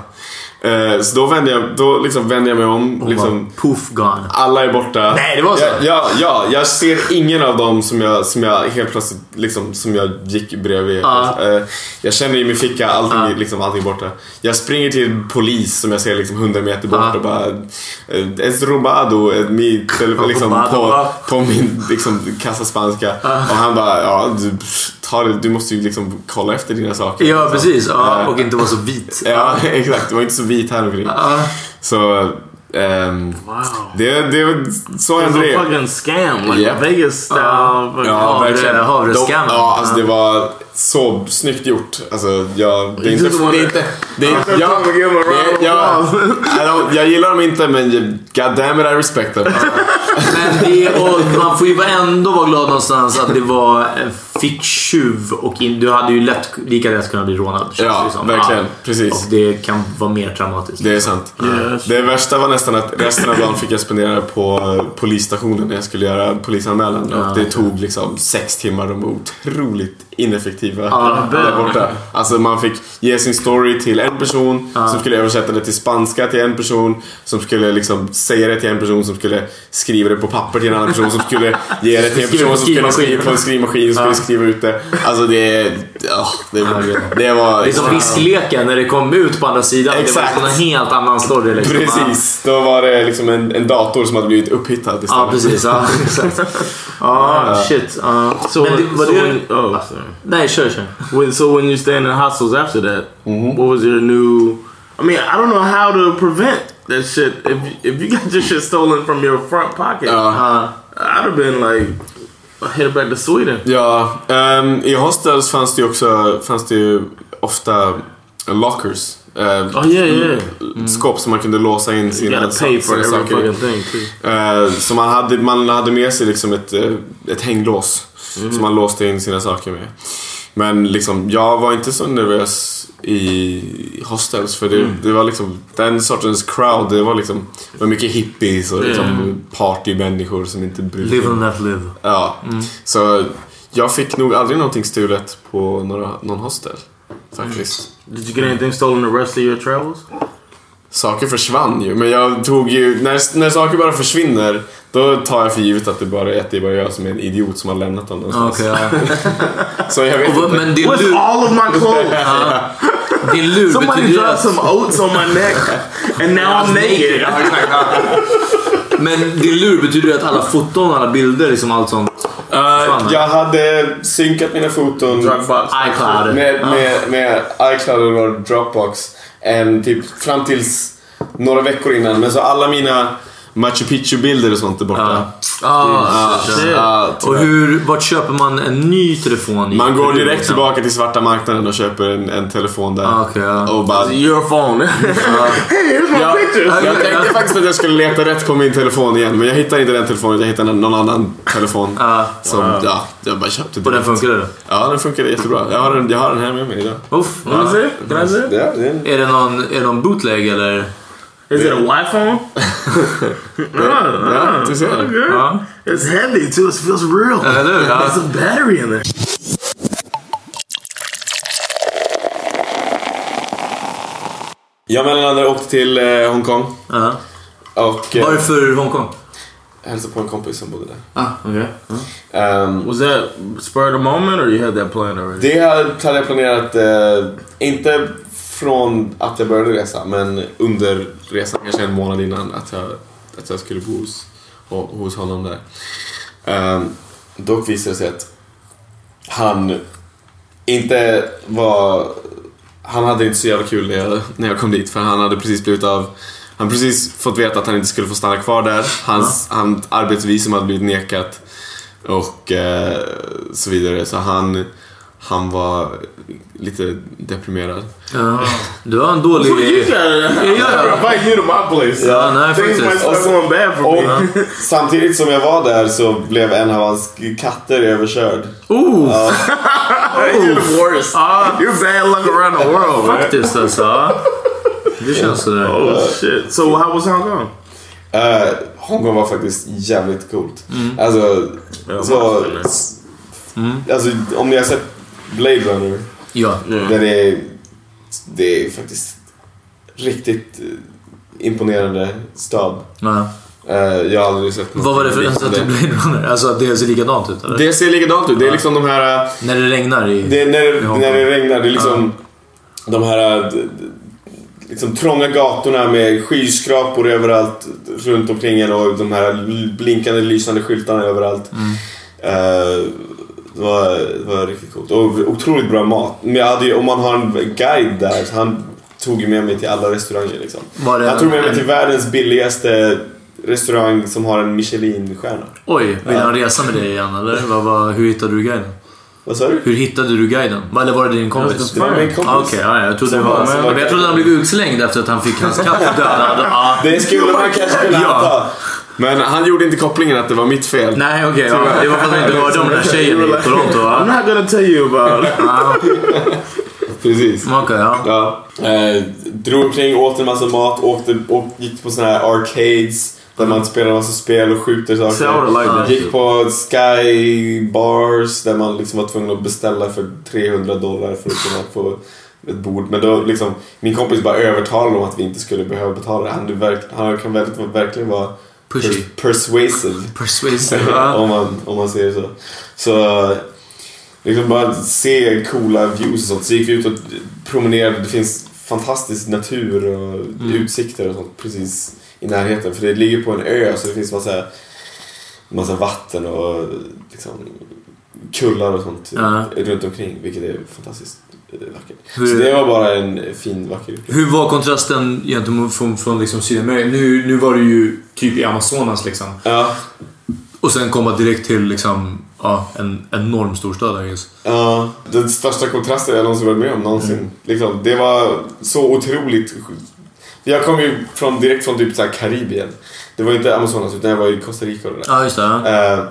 [SPEAKER 1] Eh, så då vänder jag, då liksom vänder jag mig om. liksom,
[SPEAKER 2] poof gone.
[SPEAKER 1] Alla är borta.
[SPEAKER 2] Nej, det var så?
[SPEAKER 1] Ja, ja, ja, jag ser ingen av dem som jag, som jag helt plötsligt liksom, som jag gick bredvid.
[SPEAKER 2] Ja.
[SPEAKER 1] Eh, jag känner i min ficka, allting, är- liksom, allting är borta. Jag springer till polis som jag ser liksom 100 meter bort och bara eh, Es robado, eh, mi, telefon, liksom, på,
[SPEAKER 2] Robado.
[SPEAKER 1] på min liksom, kassa spanska. Och han bara, ja du, ta det, du måste ju liksom kolla efter dina saker.
[SPEAKER 2] Ja,
[SPEAKER 1] liksom.
[SPEAKER 2] precis. Ja,
[SPEAKER 1] Eh,
[SPEAKER 2] och inte vara så vit.
[SPEAKER 1] Ja, exakt. Det var inte så vit här omkring. Så... ehm, Det, det var så hände
[SPEAKER 4] It's
[SPEAKER 1] det.
[SPEAKER 4] a fucking scam, like
[SPEAKER 1] Yep.
[SPEAKER 4] Vegas style. fucking-
[SPEAKER 1] Ja, verkligen. De-
[SPEAKER 4] havrescam.
[SPEAKER 1] Ja, alltså det var så snyggt gjort. Alltså, jag... Det är inte...
[SPEAKER 4] just wanna-
[SPEAKER 1] Det är inte det är,
[SPEAKER 4] Ah.
[SPEAKER 1] jag, jag,
[SPEAKER 4] Give him a round of
[SPEAKER 1] jag, I don't- jag gillar dem inte, men jag- God damn it, I respect them.
[SPEAKER 2] Men det, och man får ju ändå vara glad någonstans att det var en ficktjuv och in, du hade ju lätt, lika lätt kunnat bli rånad. känns
[SPEAKER 1] Ja,
[SPEAKER 2] det som.
[SPEAKER 1] verkligen. Precis.
[SPEAKER 2] Och det kan vara mer traumatiskt.
[SPEAKER 1] Det är sant.
[SPEAKER 2] Yes.
[SPEAKER 1] Det värsta var nästan att resten av dagen fick jag spendera på eh, polisstationen när jag skulle göra polisanmälan.
[SPEAKER 2] Ja.
[SPEAKER 1] Och det tog liksom sex timmar. De var otroligt ineffektiva
[SPEAKER 2] Ja.
[SPEAKER 1] där borta. Alltså man fick ge sin story till en person som skulle översätta det till spanska till en person. Som skulle liksom säga det till en person som skulle skriva det på papper till en annan person. Som skulle ge det till en
[SPEAKER 2] Skriva
[SPEAKER 1] person som
[SPEAKER 2] på
[SPEAKER 1] skulle skriva
[SPEAKER 2] skrivmaskin.
[SPEAKER 1] på en skrivmaskin. Som skulle
[SPEAKER 2] Ja.
[SPEAKER 1] skriva ut det. Alltså det... ja, det, var, det var...
[SPEAKER 2] Det är som viskleken Liksom när det kom ut på andra sidan.
[SPEAKER 1] Exakt.
[SPEAKER 2] Det var liksom en helt annan story. Liksom.
[SPEAKER 1] Precis, då var det liksom en, en dator som hade blivit upphittad istället.
[SPEAKER 2] Ja, precis. Ja, exakt. Ja, shit. Ja.
[SPEAKER 4] So,
[SPEAKER 2] Men det, var
[SPEAKER 4] so
[SPEAKER 2] det...
[SPEAKER 4] when, oh, sorry.
[SPEAKER 2] Nej, kör, kör.
[SPEAKER 4] When, so when you're staying in hostels after that, what was your new? I mean, I don't know how to prevent that shit. If if you got your shit stolen from your front pocket,
[SPEAKER 1] Uh-huh.
[SPEAKER 4] I'd have been like headed back to Sweden.
[SPEAKER 1] Ja, ehm, i hostels fanns det ju också fanns det ju ofta lockers. Uh,
[SPEAKER 4] Oh, yeah, yeah.
[SPEAKER 1] Skåp som man kunde låsa in
[SPEAKER 4] You
[SPEAKER 1] sina,
[SPEAKER 4] gotta pay for
[SPEAKER 1] sina
[SPEAKER 4] every
[SPEAKER 1] saker i.
[SPEAKER 4] fucking thing too.
[SPEAKER 1] Eh, Så man hade, man hade med sig liksom ett, eh, ett hänglås
[SPEAKER 2] Mm.
[SPEAKER 1] som man låste in sina saker med. Men liksom, jag var inte så nervös i hostels för det,
[SPEAKER 2] Mm.
[SPEAKER 1] det var liksom den sortens crowd. Det var liksom det var mycket hippies och liksom
[SPEAKER 2] Mm.
[SPEAKER 1] partymänniskor som inte brydde sig.
[SPEAKER 2] Live Mm. and let live.
[SPEAKER 1] Ja. Så jag fick nog aldrig någonting stulet på några, någon hostel. Faktiskt.
[SPEAKER 2] Mm.
[SPEAKER 4] Did you get anything stolen the rest of your travels?
[SPEAKER 1] Saker försvann ju, men jag tog ju... När, när saker bara försvinner, då tar jag för givet att det bara är, att det bara är jag som är en idiot som har lämnat dem någonstans.
[SPEAKER 2] Okej, ja.
[SPEAKER 1] Så jag vet
[SPEAKER 2] Och vad-
[SPEAKER 1] inte.
[SPEAKER 2] Men din
[SPEAKER 4] With
[SPEAKER 2] lur,
[SPEAKER 4] all of my clothes.
[SPEAKER 2] din lur
[SPEAKER 4] Somebody
[SPEAKER 2] betyder
[SPEAKER 4] dropped
[SPEAKER 2] att...
[SPEAKER 4] some oats on my neck, and now I'm naked.
[SPEAKER 1] Ja, exakt. Ja.
[SPEAKER 2] Men din lur betyder att alla foton, alla bilder, liksom allt sånt.
[SPEAKER 1] Eh, jag hade synkat mina foton
[SPEAKER 4] Dropbox.
[SPEAKER 2] iCloud.
[SPEAKER 1] med, med, med iCloud och Dropbox en, typ, fram tills några veckor innan. Men så alla mina Machu Picchu-bilder och sånt är borta.
[SPEAKER 2] Ah,
[SPEAKER 1] Ja,
[SPEAKER 2] shit.
[SPEAKER 1] ja,
[SPEAKER 2] och
[SPEAKER 1] tyvärr.
[SPEAKER 2] hur, vart köper man en ny telefon? i
[SPEAKER 1] Man går
[SPEAKER 2] Peru,
[SPEAKER 1] direkt
[SPEAKER 2] liksom?
[SPEAKER 1] tillbaka till svarta marknaden och köper en, en telefon där.
[SPEAKER 2] Ah, okej, ja.
[SPEAKER 1] Och bara...
[SPEAKER 4] Your phone.
[SPEAKER 1] Jag, jag
[SPEAKER 2] Ja.
[SPEAKER 1] tänkte faktiskt att jag skulle leta rätt på min telefon igen men jag hittade inte den telefonen, jag hittade någon annan telefon.
[SPEAKER 2] Ja.
[SPEAKER 1] Som, ja, jag bara köpte
[SPEAKER 2] Ah. Och den
[SPEAKER 1] direkt.
[SPEAKER 2] funkar det?
[SPEAKER 1] Ja, den funkade jättebra. Jag har den, jag har den här med mig idag.
[SPEAKER 2] Uff.
[SPEAKER 4] Is
[SPEAKER 2] Ja.
[SPEAKER 4] it? Can I see it?
[SPEAKER 1] Ja, det är en-
[SPEAKER 2] Är det någon, är det någon bootleg eller?
[SPEAKER 4] Is it a Wi phone? Ah,
[SPEAKER 1] ja, du ser. den.
[SPEAKER 2] Ja.
[SPEAKER 4] It's heavy too. It feels real.
[SPEAKER 2] Eller hur? Ja.
[SPEAKER 4] There's a battery in there.
[SPEAKER 1] Jag mellan andra åkte till eh, Hongkong
[SPEAKER 2] Ja.
[SPEAKER 1] och eh,
[SPEAKER 2] Varför Hongkong?
[SPEAKER 1] hälsade på en kompis som bodde där.
[SPEAKER 2] Ah, okay.
[SPEAKER 1] Ehm,
[SPEAKER 4] Was that spur of the moment or you had that plan already?
[SPEAKER 1] Det här hade jag planerat, eh, inte från att jag började resa, men under resan, kanske en månad innan, att jag, att jag skulle bo hos, ho- hos honom där. Ehm, dock visade det sig att han inte var... Han hade inte så jävla kul när jag, när jag kom dit för han hade precis blivit av... Han hade precis fått veta att han inte skulle få stanna kvar där. Hans han, arbetsvisum hade blivit nekat och eh, så vidare. Så han han var lite deprimerad.
[SPEAKER 2] Ja, du har en dålig...
[SPEAKER 1] Fuck you guys.
[SPEAKER 2] Ja,
[SPEAKER 4] Invite you to my place.
[SPEAKER 2] Ja, nej,
[SPEAKER 4] Things
[SPEAKER 2] faktiskt.
[SPEAKER 4] might start going bad for me.
[SPEAKER 1] Och samtidigt som jag var där så blev en av hans katter överkörd.
[SPEAKER 2] Ooh.
[SPEAKER 1] Ja.
[SPEAKER 4] You're the worst. You're bad luck around the world. man.
[SPEAKER 2] Ah. Faktiskt alltså. ja. Det känns sådär.
[SPEAKER 4] Oh shit. So how was Hong Kong?
[SPEAKER 1] Eh, Hongkong var faktiskt jävligt coolt.
[SPEAKER 4] Mm.
[SPEAKER 1] Alltså, så,
[SPEAKER 4] måste det.
[SPEAKER 1] s-
[SPEAKER 2] Mm.
[SPEAKER 1] alltså, om ni har sett Blade Runner.
[SPEAKER 2] Ja.
[SPEAKER 1] Den är, det är faktiskt riktigt eh, imponerande stad.
[SPEAKER 2] Ja.
[SPEAKER 1] Eh, jag har aldrig sett något
[SPEAKER 2] Vad var det för ens att
[SPEAKER 1] liknande.
[SPEAKER 2] det blev Runner? Alltså att det ser likadant ut eller?
[SPEAKER 1] Det ser likadant ut. Det är liksom de här... eh,
[SPEAKER 2] När det regnar i...
[SPEAKER 1] Det är när,
[SPEAKER 2] i
[SPEAKER 1] det,
[SPEAKER 2] Hongkong.
[SPEAKER 1] när det regnar, det är liksom de här eh, d- d- liksom trånga gatorna med skyskrapor överallt runt omkring en och de här l- blinkande lysande skyltarna överallt. Eh, det, var, det var riktigt coolt. Och otroligt bra mat. Men jag hade ju, om man har en guide där, så han tog ju med mig till alla restauranger liksom.
[SPEAKER 2] Var det
[SPEAKER 1] han tog med mig
[SPEAKER 2] en-
[SPEAKER 1] till världens billigaste restaurang som har en Michelin-stjärna.
[SPEAKER 2] Oj, vill
[SPEAKER 1] Ja.
[SPEAKER 2] han resa med dig igen eller? Vad, vad, hur hittade du guiden?
[SPEAKER 1] Vad sa du?
[SPEAKER 2] Hur hittade du guiden? Eller var det din kompis?
[SPEAKER 1] Det var min kompis.
[SPEAKER 2] Ah, Okej, ja, ja, jag trodde det
[SPEAKER 1] Som
[SPEAKER 2] var...
[SPEAKER 1] var- som var-
[SPEAKER 2] men jag trodde han blev utslängd efter att han fick hans katt dödad. Ja.
[SPEAKER 1] Det skulle man kanske kunna
[SPEAKER 2] Ja.
[SPEAKER 1] anta. Men han gjorde inte kopplingen att det var mitt fel.
[SPEAKER 2] Nej, okej. ja. Det var för att jag inte hörde om den här tjejen i Toronto
[SPEAKER 4] I'm
[SPEAKER 2] va?
[SPEAKER 4] not gonna tell you about it.
[SPEAKER 2] Ja,
[SPEAKER 1] Precis.
[SPEAKER 2] Ah, Okej, ja.
[SPEAKER 1] Ja. Eh, drog omkring, åt en massa mat, åkte, åk, gick på såna här arcades där man spelar massa spel och skjuter saker.
[SPEAKER 4] See, I would've liked that
[SPEAKER 1] gick
[SPEAKER 4] shit.
[SPEAKER 1] på sky bars där man liksom var tvungen att beställa för 300 dollar för att kunna få ett bord. Men då liksom, min kompis bara övertalade om att vi inte skulle behöva betala. Han, är verk, han kan verkligen, verkligen vara
[SPEAKER 2] Pushy.
[SPEAKER 1] persuasive.
[SPEAKER 2] Persuasive.
[SPEAKER 1] om,
[SPEAKER 2] Ja.
[SPEAKER 1] man, om man säger så. Så liksom bara se coola views och sånt. Så gick vi ut och promenerade. Det finns fantastisk natur och
[SPEAKER 2] Mm.
[SPEAKER 1] utsikter och sånt precis i närheten. För det ligger på en ö så det finns massa, massa vatten och liksom kullar och sånt
[SPEAKER 2] Ja.
[SPEAKER 1] runt omkring. Vilket är fantastiskt eh, vackert.
[SPEAKER 2] Hur-
[SPEAKER 1] Så det var bara en fin vacker upplevelse.
[SPEAKER 2] Hur var kontrasten gentemot från, från liksom Sydamerika? Nu, nu var du ju typ i Amazonas liksom.
[SPEAKER 1] Ja,
[SPEAKER 2] Och sen komma direkt till liksom, ja, en enorm storstad I guess.
[SPEAKER 1] Ja, den största kontrasten jag någonsin varit med om någonsin. Liksom, det var så otroligt... Jag kom ju från, direkt från typ så här Karibien. Det var ju inte Amazonas utan jag var i Costa Rica och det där.
[SPEAKER 2] Ja, just det. Ja.
[SPEAKER 1] Eh,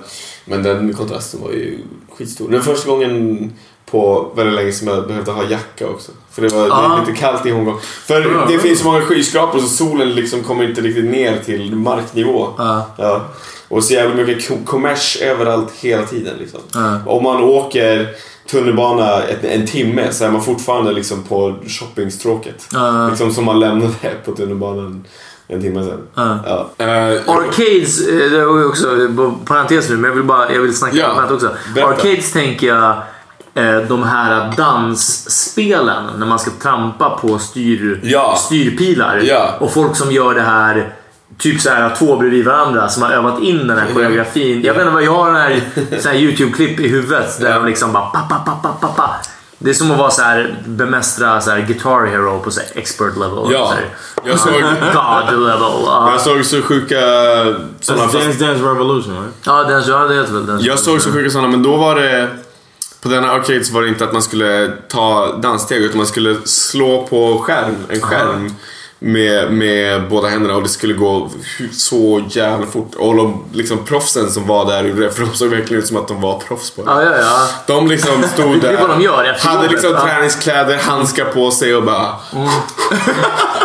[SPEAKER 1] Men den kontrasten var ju skitstor. Det var första gången på väldigt länge som jag behövde ha jacka också. För det var
[SPEAKER 2] Ah.
[SPEAKER 1] det är lite kallt i Hongkong. För
[SPEAKER 2] Ja,
[SPEAKER 1] det
[SPEAKER 2] ja.
[SPEAKER 1] finns så många skyskrapor så solen liksom kommer inte riktigt ner till marknivå.
[SPEAKER 2] Ja.
[SPEAKER 1] Ja. Och så jävla mycket ko- kommers överallt hela tiden. Liksom.
[SPEAKER 2] Ja.
[SPEAKER 1] Om man åker tunnelbana ett, en timme så är man fortfarande liksom på shoppingstråket.
[SPEAKER 2] Ja.
[SPEAKER 1] Liksom som man lämnade på tunnelbanan en timme sen.
[SPEAKER 2] Ja.
[SPEAKER 1] Ja. Eh,
[SPEAKER 2] Arcades, eh, det var ju också eh, bara parentes nu, men jag vill bara jag vill snacka
[SPEAKER 1] Ja,
[SPEAKER 2] om det också.
[SPEAKER 1] berätta.
[SPEAKER 2] Arcades tänker jag, eh, de här dansspelen när man ska trampa på styr,
[SPEAKER 1] Ja.
[SPEAKER 2] styrpilar.
[SPEAKER 1] Ja.
[SPEAKER 2] Och folk som gör det här, typ så här två bredvid varandra som har övat in den här koreografin. Jag vet inte vad jag har den här, så här YouTube-klipp i huvudet där de liksom bara pa, pa, pa, pa, pa, pa. Det är som att vara så här, bemästra så här, Guitar Hero på så här, expert level.
[SPEAKER 1] Ja.
[SPEAKER 2] Så här,
[SPEAKER 1] Jag såg-
[SPEAKER 2] God level. Ja. Alltså,
[SPEAKER 1] Jag såg så sjuka sådana
[SPEAKER 4] That's Dance Dance Revolution, right?
[SPEAKER 2] Ja, den, ja, det typ heter väl den.
[SPEAKER 1] Jag såg så sjuka sådana men då var det på denna arcade så var det inte att man skulle ta danssteg utan man skulle slå på skärm, en skärm med, med båda händerna och det skulle gå hu- så jävla fort. Och de liksom proffsen som var där gjorde det, för de såg verkligen ut som att de var proffs på det.
[SPEAKER 2] Ja, ja, ja.
[SPEAKER 1] De liksom stod
[SPEAKER 2] Det
[SPEAKER 1] där,
[SPEAKER 2] är vad de gör efter
[SPEAKER 1] hade
[SPEAKER 2] jobbet,
[SPEAKER 1] liksom
[SPEAKER 2] ja.
[SPEAKER 1] träningskläder, handskar på sig och bara...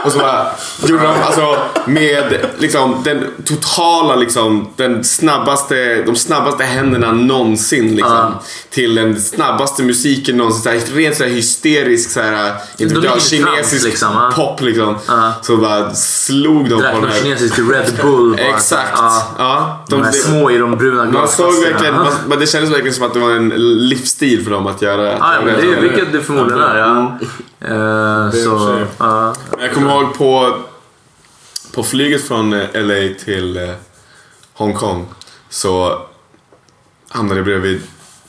[SPEAKER 1] och så bara gjorde de alltså med liksom den totala liksom, den snabbaste, de snabbaste händerna någonsin liksom.
[SPEAKER 2] Ja.
[SPEAKER 1] Till den snabbaste musiken någonsin. Så här, rent såhär hysterisk såhär, inte vet
[SPEAKER 2] ligger i
[SPEAKER 1] jag,
[SPEAKER 2] trans,
[SPEAKER 1] kinesisk
[SPEAKER 2] liksom, ja.
[SPEAKER 1] pop liksom.
[SPEAKER 2] Ja.
[SPEAKER 1] Så bara slog de
[SPEAKER 2] Drack
[SPEAKER 1] på den
[SPEAKER 2] någon
[SPEAKER 1] här.
[SPEAKER 2] kinesisk Red Bull. bara.
[SPEAKER 1] Exakt.
[SPEAKER 2] Ja.
[SPEAKER 1] Ja,
[SPEAKER 2] De här
[SPEAKER 1] det-
[SPEAKER 2] små Ah. i de bruna
[SPEAKER 1] man såg
[SPEAKER 2] glasflaskorna.
[SPEAKER 1] verkligen, man, men det kändes verkligen som att det var en livsstil för dem att göra.
[SPEAKER 2] Ah, Ja, ja, men det är vilket det förmodligen är.
[SPEAKER 1] Mm.
[SPEAKER 2] Ja. Eh, så,
[SPEAKER 4] det.
[SPEAKER 2] ja.
[SPEAKER 1] Jag kommer ihåg på, på flyget från eh, LA till eh, Hongkong så hamnade jag bredvid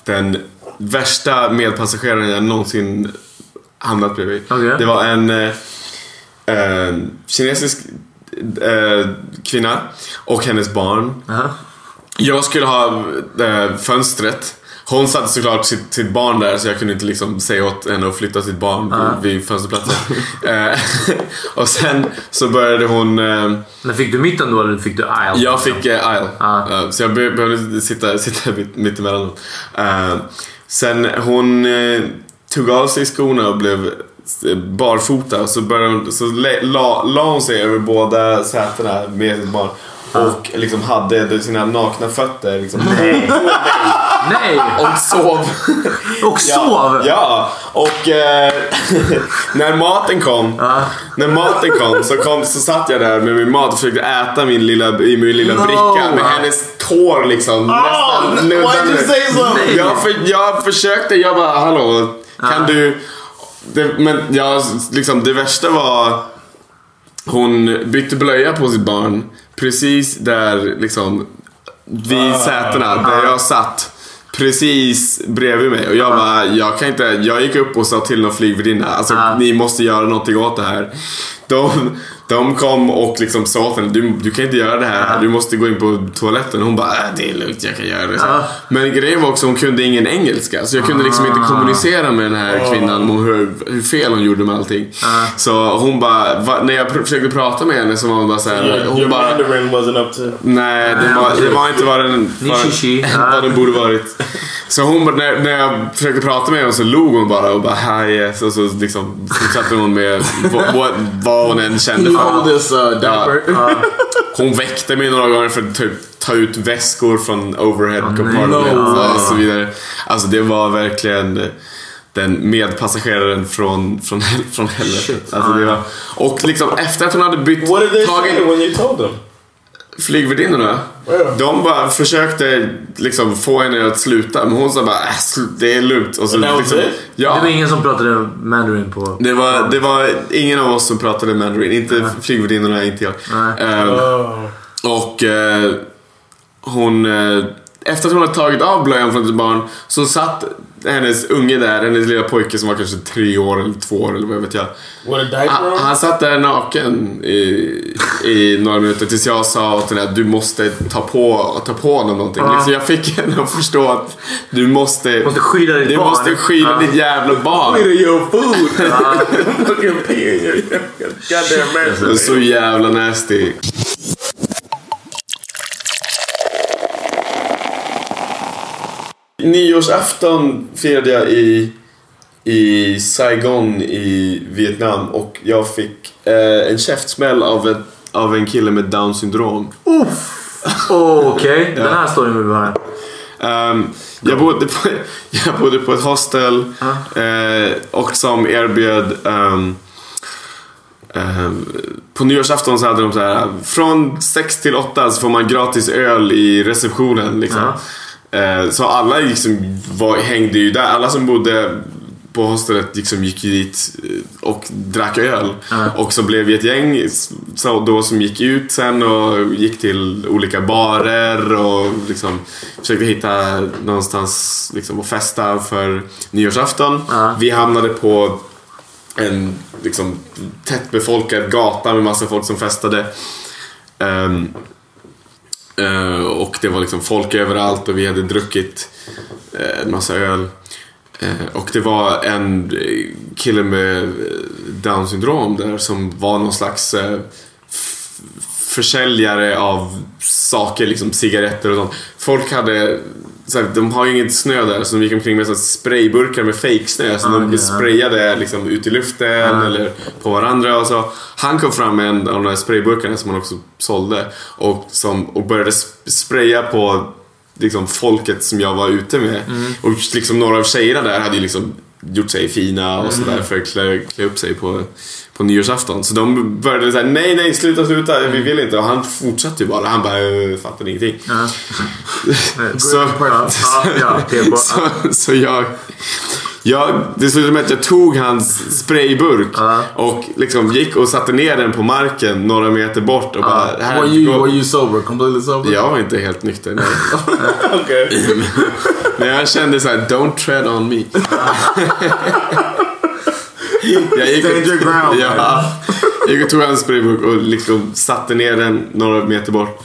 [SPEAKER 1] den värsta medpassageraren jag någonsin hamnat bredvid.
[SPEAKER 2] Okej.
[SPEAKER 1] Det var en eh, eh, kinesisk eh, kvinna och hennes barn.
[SPEAKER 2] Aha.
[SPEAKER 1] Jag skulle ha eh, fönstret Hon satte såklart sitt, sitt barn där så jag kunde inte liksom säga åt henne att flytta sitt barn
[SPEAKER 2] Ah.
[SPEAKER 1] vid fönsterplatsen. Eh, och sen så började hon... eh, Men fick du mitten då eller fick du aisle? Jag fick eh, aisle. Eh, så jag be- behövde sitta, sitta mitt, mitt emellan dem. Eh, sen hon eh, tog av sig skorna och blev eh, barfota så, började hon, så la, la, la hon sig över båda sätena med sitt barn. Och liksom hade sina nakna fötter liksom, Nej! Och sov. Och sov? Ja, ja. och eh, när maten kom När maten kom så, kom så satt jag där med min mat och försökte äta min lilla, i min lilla
[SPEAKER 2] No.
[SPEAKER 1] bricka med hennes tår liksom
[SPEAKER 2] Oh,
[SPEAKER 1] nästan
[SPEAKER 2] why'd you say so?
[SPEAKER 1] Nej. Jag, för, jag försökte, jag bara hallå, kan du... Det, men jag, liksom, det värsta var hon bytte blöja på sitt barn precis där liksom vid sätena där jag satt. Precis bredvid mig och jag bara, jag kan inte, jag gick upp och sa till någon flygvärdinna, alltså ni måste göra någonting åt det här. De, de kom och liksom sa åt henne, du, du kan inte göra det här, du måste gå in på toaletten. Hon bara, äh, det är lugnt, jag kan göra det. Så.
[SPEAKER 2] Ja.
[SPEAKER 1] Men grejen var också, hon kunde ingen engelska så jag kunde liksom inte
[SPEAKER 2] Ah.
[SPEAKER 1] kommunicera med den här
[SPEAKER 2] Åh.
[SPEAKER 1] kvinnan om hur, hur fel hon gjorde med allting. Så hon bara, va, när jag pr- försökte prata med henne så var hon bara såhär,
[SPEAKER 4] Your,
[SPEAKER 1] hon
[SPEAKER 4] your
[SPEAKER 1] bara
[SPEAKER 4] Mandarin wasn't up to.
[SPEAKER 1] Nej, det var, det var inte vad den, vad, vad den borde varit. Så hon, bara- när, när jag försökte prata med henne så log hon bara och bara hi yes och så liksom fortsatte hon med vad, vad- vad hon än kände
[SPEAKER 4] You hold this, uh, diaper.
[SPEAKER 1] Hon väckte mig några gånger för att typ ta ut väskor från overhead compartment
[SPEAKER 4] No.
[SPEAKER 1] och så vidare. Alltså det var verkligen den medpassageraren från, från, hel- från helvetet. Alltså, det var, och liksom efter att hon hade bytt...
[SPEAKER 4] What did they say when you told them?
[SPEAKER 1] flygvärdinnorna. De bara försökte liksom få henne att sluta men hon sa bara äh, sl- det är lugnt. Och så,
[SPEAKER 6] And that was
[SPEAKER 1] liksom,
[SPEAKER 6] it?
[SPEAKER 1] ja.
[SPEAKER 6] Det var ingen som pratade mandarin på...
[SPEAKER 1] Det var, det var ingen av oss som pratade mandarin. Inte flygvärdinnorna, inte jag. Ehm, Och eh, hon... eh, Efter att hon hade tagit av blöjan från sitt barn så satt hennes unge där, hennes lilla pojke som var kanske tre år eller två år eller vad vet jag.
[SPEAKER 4] What a diaper?
[SPEAKER 1] Han, han satt där naken i, i några minuter tills jag sa åt henne att du måste ta på, ta på honom någonting.
[SPEAKER 2] Ja.
[SPEAKER 1] Liksom jag fick henne att förstå att du måste, måste
[SPEAKER 2] skyla ditt
[SPEAKER 1] du
[SPEAKER 2] barn.
[SPEAKER 1] måste skyla
[SPEAKER 2] Ja.
[SPEAKER 1] ditt jävla barn.
[SPEAKER 2] Skyla
[SPEAKER 4] your food.
[SPEAKER 1] Fucking pee in your
[SPEAKER 4] goddamn
[SPEAKER 1] Det är så jävla nasty. Nyårsafton firade jag i, i Saigon i Vietnam och jag fick eh, en käftsmäll av, ett, av en kille med down syndrom.
[SPEAKER 6] Oh, Okej, den här storyn vill vi höra.
[SPEAKER 1] Ehm, jag, bodde på, jag bodde på ett hostel eh, och som erbjöd ehm, ehm, på nyårsafton så hade de så här från 6 till 8 så får man gratis öl i receptionen. Liksom. Eh, så alla liksom var, hängde ju där. Alla som bodde på hostelet liksom gick ju dit eh, och drack öl. Och så blev vi ett gäng s- så då som gick ut sen och gick till olika barer och liksom försökte hitta någonstans liksom att festa för nyårsafton. Vi hamnade på en liksom tättbefolkad gata med massa folk som festade. Ehm, eh, och det var liksom folk överallt och vi hade druckit eh, en massa öl. Eh, och det var en eh, kille med eh, down syndrom där som var någon slags eh, f- försäljare av saker, liksom cigaretter och sånt. Folk hade så här, de har ju inget snö där så de gick omkring med så här sprayburkar med fejksnö som
[SPEAKER 2] Ah,
[SPEAKER 1] de
[SPEAKER 2] okej, ja. Ah.
[SPEAKER 1] sprayade liksom, ut i luften eller på varandra och så. Han kom fram med en av de här sprayburkarna som han också sålde och, som, och började sp- spraya på liksom, folket som jag var ute med.
[SPEAKER 2] Mm.
[SPEAKER 1] Och liksom, några av tjejerna där hade ju liksom gjort sig fina och sådär
[SPEAKER 2] Mm.
[SPEAKER 1] för att klä, klä upp sig på, på nyårsafton. Så de började säga nej, nej, sluta, sluta, vi
[SPEAKER 2] Mm.
[SPEAKER 1] vill inte. Och han fortsatte ju bara. Han bara, "Eh, fattar ingenting. så,
[SPEAKER 2] på-
[SPEAKER 1] så, så jag, jag... Det slutade med att jag tog hans sprayburk och liksom gick och satte ner den på marken några meter bort och bara...
[SPEAKER 4] Were you- were
[SPEAKER 1] sober? Completely sober? Jag var inte helt nykter, nej.
[SPEAKER 4] Okay.
[SPEAKER 1] Men jag kände så här: don't tread on me. jag gick
[SPEAKER 2] Stand your ground,
[SPEAKER 1] ja, jag gick och tog hans sprayburk och liksom satte ner den några meter bort.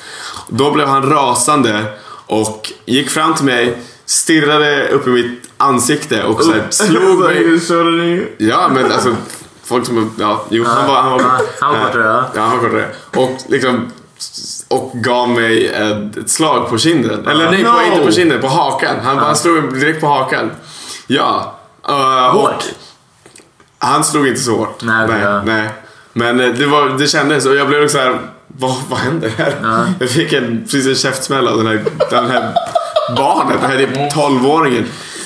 [SPEAKER 1] Då blev han rasande och gick fram till mig, stirrade upp i mitt ansikte och så här, slog mig. Ja, men alltså folk som... Ja, jo, han var... Han var,
[SPEAKER 2] han var kortare,
[SPEAKER 1] ja. ja, han var kortare. Och liksom... Och gav mig ett, ett slag på kinden. Eller nej,
[SPEAKER 4] No!
[SPEAKER 1] på, inte på kinden, på hakan. Han, han slog mig direkt på hakan. Ja. eh, och-
[SPEAKER 2] Hårt?
[SPEAKER 1] Han slog inte så hårt. Nej, nej. Men eh, det, var, det kändes och jag blev så här. Vad, vad händer här? Jag fick en, precis en käftsmäll av den här, den här barnet, den här 12-åringen.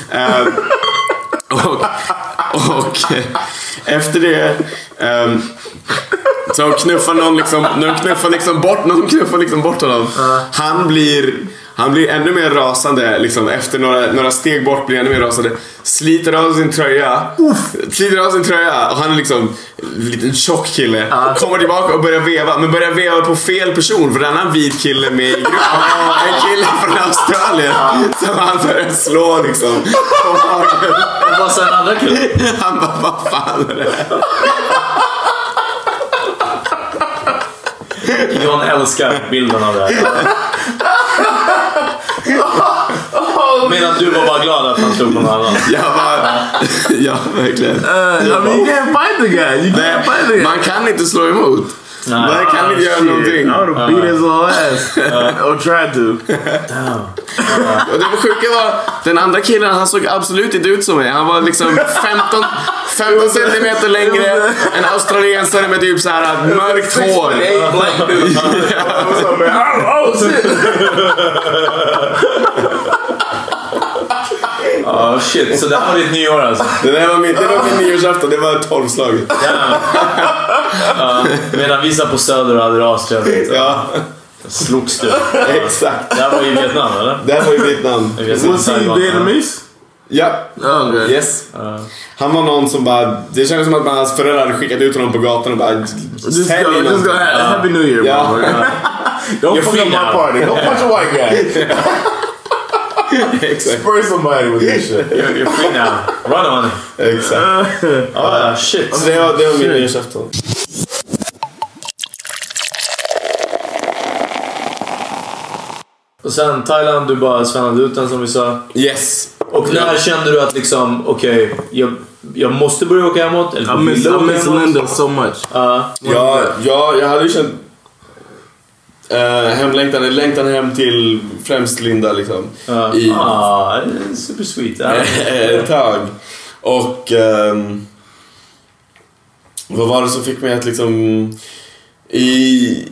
[SPEAKER 1] Eh, och, och eh, efter det ehm, så hon knuffar någon liksom, någon knuffar liksom bort, någon knuffar liksom bort honom. Han blir han blir ännu mer rasande, liksom, efter några, några steg bort blir han ännu mer rasande. Sliter av sin tröja. Sliter av sin tröja och han är liksom en liten tjock kille. Kommer tillbaka och börjar veva, men börjar veva på fel person för det är en annan vit kille med i gruppen. En kille från Australien som han börjar slå liksom. På magen. Vad sa den andra killen? Han bara, vad fan är det här?
[SPEAKER 2] John älskar bilden av det här. Medan du var bara glad att han slog någon annan.
[SPEAKER 1] Jag bara... ja, verkligen.
[SPEAKER 4] I mean, you can't fight the guy. You can't fight the guy.
[SPEAKER 1] Man kan inte slå emot.
[SPEAKER 4] Nah.
[SPEAKER 1] Man kan inte göra
[SPEAKER 4] Shit,
[SPEAKER 1] någonting.
[SPEAKER 4] I
[SPEAKER 2] Ah.
[SPEAKER 4] would've beat his little ass.
[SPEAKER 1] Or try to. Och det sjuka var, den andra killen han såg absolut inte ut som mig. Han var liksom 15, 15 centimeter längre. En australiensare med typ såhär mörkt hår.
[SPEAKER 4] Oh,
[SPEAKER 2] Ja, Ah, shit. Så det här var ditt nyår alltså?
[SPEAKER 1] Det där var min, det var min nyårsafton. Det var tolvslaget.
[SPEAKER 2] Ja, medan vi satt på Söder och hade raströvning.
[SPEAKER 1] Ja.
[SPEAKER 2] Slogs du?
[SPEAKER 1] Exakt.
[SPEAKER 2] Det här var i Vietnam eller?
[SPEAKER 1] Det här var i Vietnam.
[SPEAKER 2] Jag vet inte,
[SPEAKER 1] Was he
[SPEAKER 2] Taiwan.
[SPEAKER 1] Vietnamese? Ja. Yes. Han var någon som bara... Det kändes som att hans föräldrar hade skickat ut honom på gatan och bara...
[SPEAKER 4] Just go, just go. Happy New Year,
[SPEAKER 1] Ja.
[SPEAKER 4] bro. Don't
[SPEAKER 1] You're
[SPEAKER 4] fuck up
[SPEAKER 1] free
[SPEAKER 4] my
[SPEAKER 1] now.
[SPEAKER 4] party. Go punch a white guy.
[SPEAKER 1] Exakt.
[SPEAKER 4] Spray somebody with this shit.
[SPEAKER 2] You're, you're free now. Run on it.
[SPEAKER 1] Exakt.
[SPEAKER 2] Ja, shit.
[SPEAKER 1] Så det var, det var min nyårsafton.
[SPEAKER 2] Och sen Thailand, du bara svängde ut den som vi sa.
[SPEAKER 1] Yes.
[SPEAKER 2] Och när kände du att liksom, okej, jag, jag måste börja åka hemåt? Eller
[SPEAKER 4] I miss,
[SPEAKER 2] vill
[SPEAKER 4] I
[SPEAKER 2] åka
[SPEAKER 4] miss
[SPEAKER 2] hemåt?
[SPEAKER 4] Linda so much.
[SPEAKER 2] Ja.
[SPEAKER 1] Ja, ja, jag hade ju känt eh, hemlängtan, eller längtan hem till främst Linda liksom. I,
[SPEAKER 2] ah, det är super sweet. Ja.
[SPEAKER 1] ett Eh, tag. Och ehm, vad var det som fick mig att liksom... I,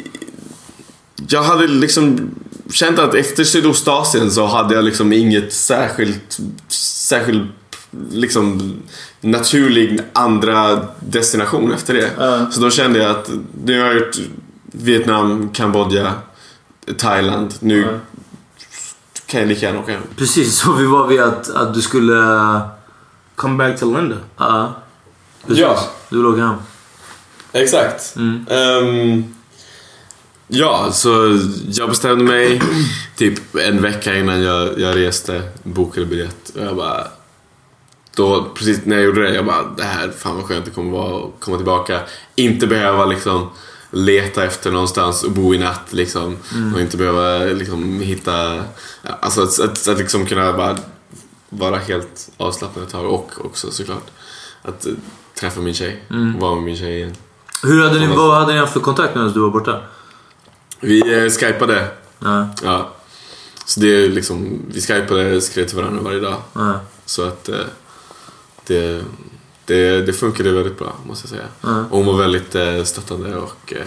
[SPEAKER 1] jag hade liksom känt att efter Sydostasien så hade jag liksom inget särskilt, särskilt liksom naturlig andra destination efter det. Så då kände jag att nu har jag gjort Vietnam, Kambodja, Thailand. Nu kan jag lika gärna åka hem.
[SPEAKER 2] Precis, så vi var vid att, att du skulle...
[SPEAKER 4] Come back to Linda.
[SPEAKER 2] Ja. precis.
[SPEAKER 1] Ja.
[SPEAKER 2] Du vill åka hem.
[SPEAKER 1] Exakt. Ehm, ja, så jag bestämde mig typ en vecka innan jag, jag reste, bokade biljett och jag bara... Då, precis när jag gjorde det, jag bara det här, fan vad skönt det kommer vara att komma tillbaka. Inte behöva liksom leta efter någonstans och bo i natt liksom.
[SPEAKER 4] Mm.
[SPEAKER 1] Och inte behöva liksom hitta, alltså att, att, att liksom kunna bara vara helt avslappnad ett tag och också såklart att eh, träffa min tjej,
[SPEAKER 2] Mm.
[SPEAKER 1] vara med min tjej igen.
[SPEAKER 2] Hur hade ni, vad hade ni haft för kontakt medan du var borta?
[SPEAKER 1] Vi eh, skypade.
[SPEAKER 2] Ja.
[SPEAKER 1] Ja. Så det är liksom, vi skypade skrev till varandra varje dag.
[SPEAKER 2] Ja.
[SPEAKER 1] Så att eh, det, det, det funkade väldigt bra måste jag säga.
[SPEAKER 2] Ja.
[SPEAKER 1] Och hon var väldigt eh, stöttande och eh,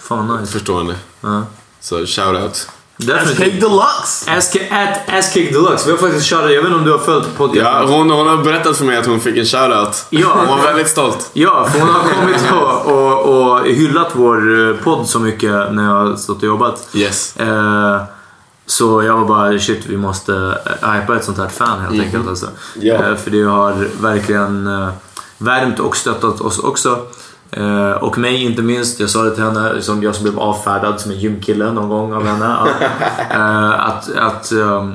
[SPEAKER 2] Fan nice.
[SPEAKER 1] förstående.
[SPEAKER 2] Ja.
[SPEAKER 1] Så shoutout.
[SPEAKER 2] Definitivt.
[SPEAKER 4] Deluxe!
[SPEAKER 2] Ass- at Asskick Deluxe. Vi har faktiskt kört Jag vet inte om du har följt podcasten?
[SPEAKER 1] Ja, hon, hon har berättat för mig att hon fick en shoutout.
[SPEAKER 2] Ja.
[SPEAKER 1] Hon var väldigt stolt.
[SPEAKER 2] Ja, för hon har kommit och, och, och hyllat vår eh, podd så mycket när jag har stått och jobbat.
[SPEAKER 1] Yes.
[SPEAKER 2] Eh, så jag var bara shit, vi måste eh, hypa ett sånt här fan helt
[SPEAKER 1] Mhm.
[SPEAKER 2] enkelt. Alltså.
[SPEAKER 1] Ja.
[SPEAKER 2] Eh, för det har verkligen eh, värmt och stöttat oss också. Eh, och mig inte minst. Jag sa det till henne, liksom, jag som blev avfärdad som en gymkille någon gång av henne. Att, eh, att, att ehm,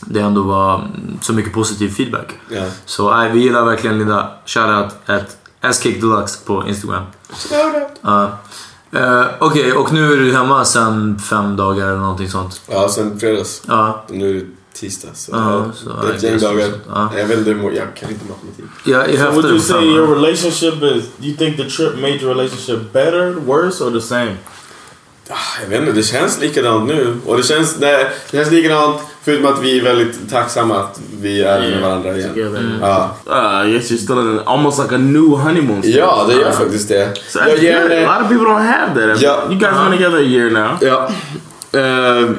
[SPEAKER 2] det ändå var mm, så mycket positiv feedback.
[SPEAKER 1] Ja.
[SPEAKER 2] Så nej, vi gillar verkligen Linda. Shoutout at Askick Deluxe på Instagram. Ja. Eh, Okej, och nu är du hemma sen fem dagar eller någonting sånt.
[SPEAKER 1] Ja, sen fredags.
[SPEAKER 2] Ja.
[SPEAKER 1] Nu är det tisdag. Så
[SPEAKER 2] Ja, så
[SPEAKER 1] det är ett
[SPEAKER 2] I
[SPEAKER 1] gäng
[SPEAKER 2] guess-
[SPEAKER 1] dagar.
[SPEAKER 2] ja.
[SPEAKER 1] Jag vet inte hur må- jag kan inte matematik.
[SPEAKER 7] so would you say your relationship is? You think the trip made your relationship better, worse, or the same?
[SPEAKER 1] Jag vet inte, det känns likadant nu. Och det känns, det, det känns likadant förutom att vi är väldigt tacksamma att vi är med varandra igen.
[SPEAKER 4] Mm.
[SPEAKER 1] Ja.
[SPEAKER 4] Uh, yes, you're still in an, almost like a new honeymoon. stage.
[SPEAKER 1] Ja, det gör
[SPEAKER 4] Uh,
[SPEAKER 1] faktiskt det.
[SPEAKER 4] So that's
[SPEAKER 1] ger
[SPEAKER 4] good.
[SPEAKER 1] henne-
[SPEAKER 4] A lot of people don't have that.
[SPEAKER 1] Ja.
[SPEAKER 4] You guys been together a year now.
[SPEAKER 1] Ja. Eh,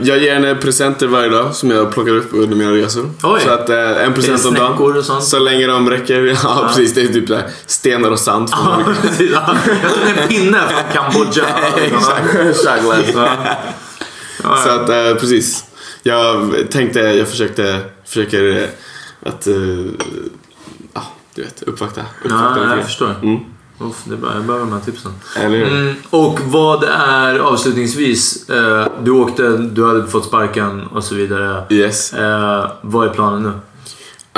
[SPEAKER 1] jag ger henne presenter varje dag som jag plockar upp under mina resor.
[SPEAKER 2] Oj.
[SPEAKER 1] Så att eh, en present om
[SPEAKER 2] snäckor
[SPEAKER 1] dagen. Så länge de räcker. Ja,
[SPEAKER 2] Ja.
[SPEAKER 1] precis. Det är typ så här, stenar och sand. från olika-
[SPEAKER 2] Jag tog en pinne från Kambodja.
[SPEAKER 1] Exakt. Så att eh, precis. Jag tänkte, jag försökte, försöker eh, att, eh, ja du vet, uppvakta. uppvakta
[SPEAKER 2] Ja,
[SPEAKER 1] lite grann.
[SPEAKER 2] jag förstår.
[SPEAKER 1] Mm.
[SPEAKER 2] Uff, det är bra. Jag behöver de här tipsen.
[SPEAKER 1] Eller hur?
[SPEAKER 2] Mm, och vad är avslutningsvis? Eh, du åkte, du hade fått sparken och så vidare.
[SPEAKER 1] Yes.
[SPEAKER 2] Eh, vad är planen nu?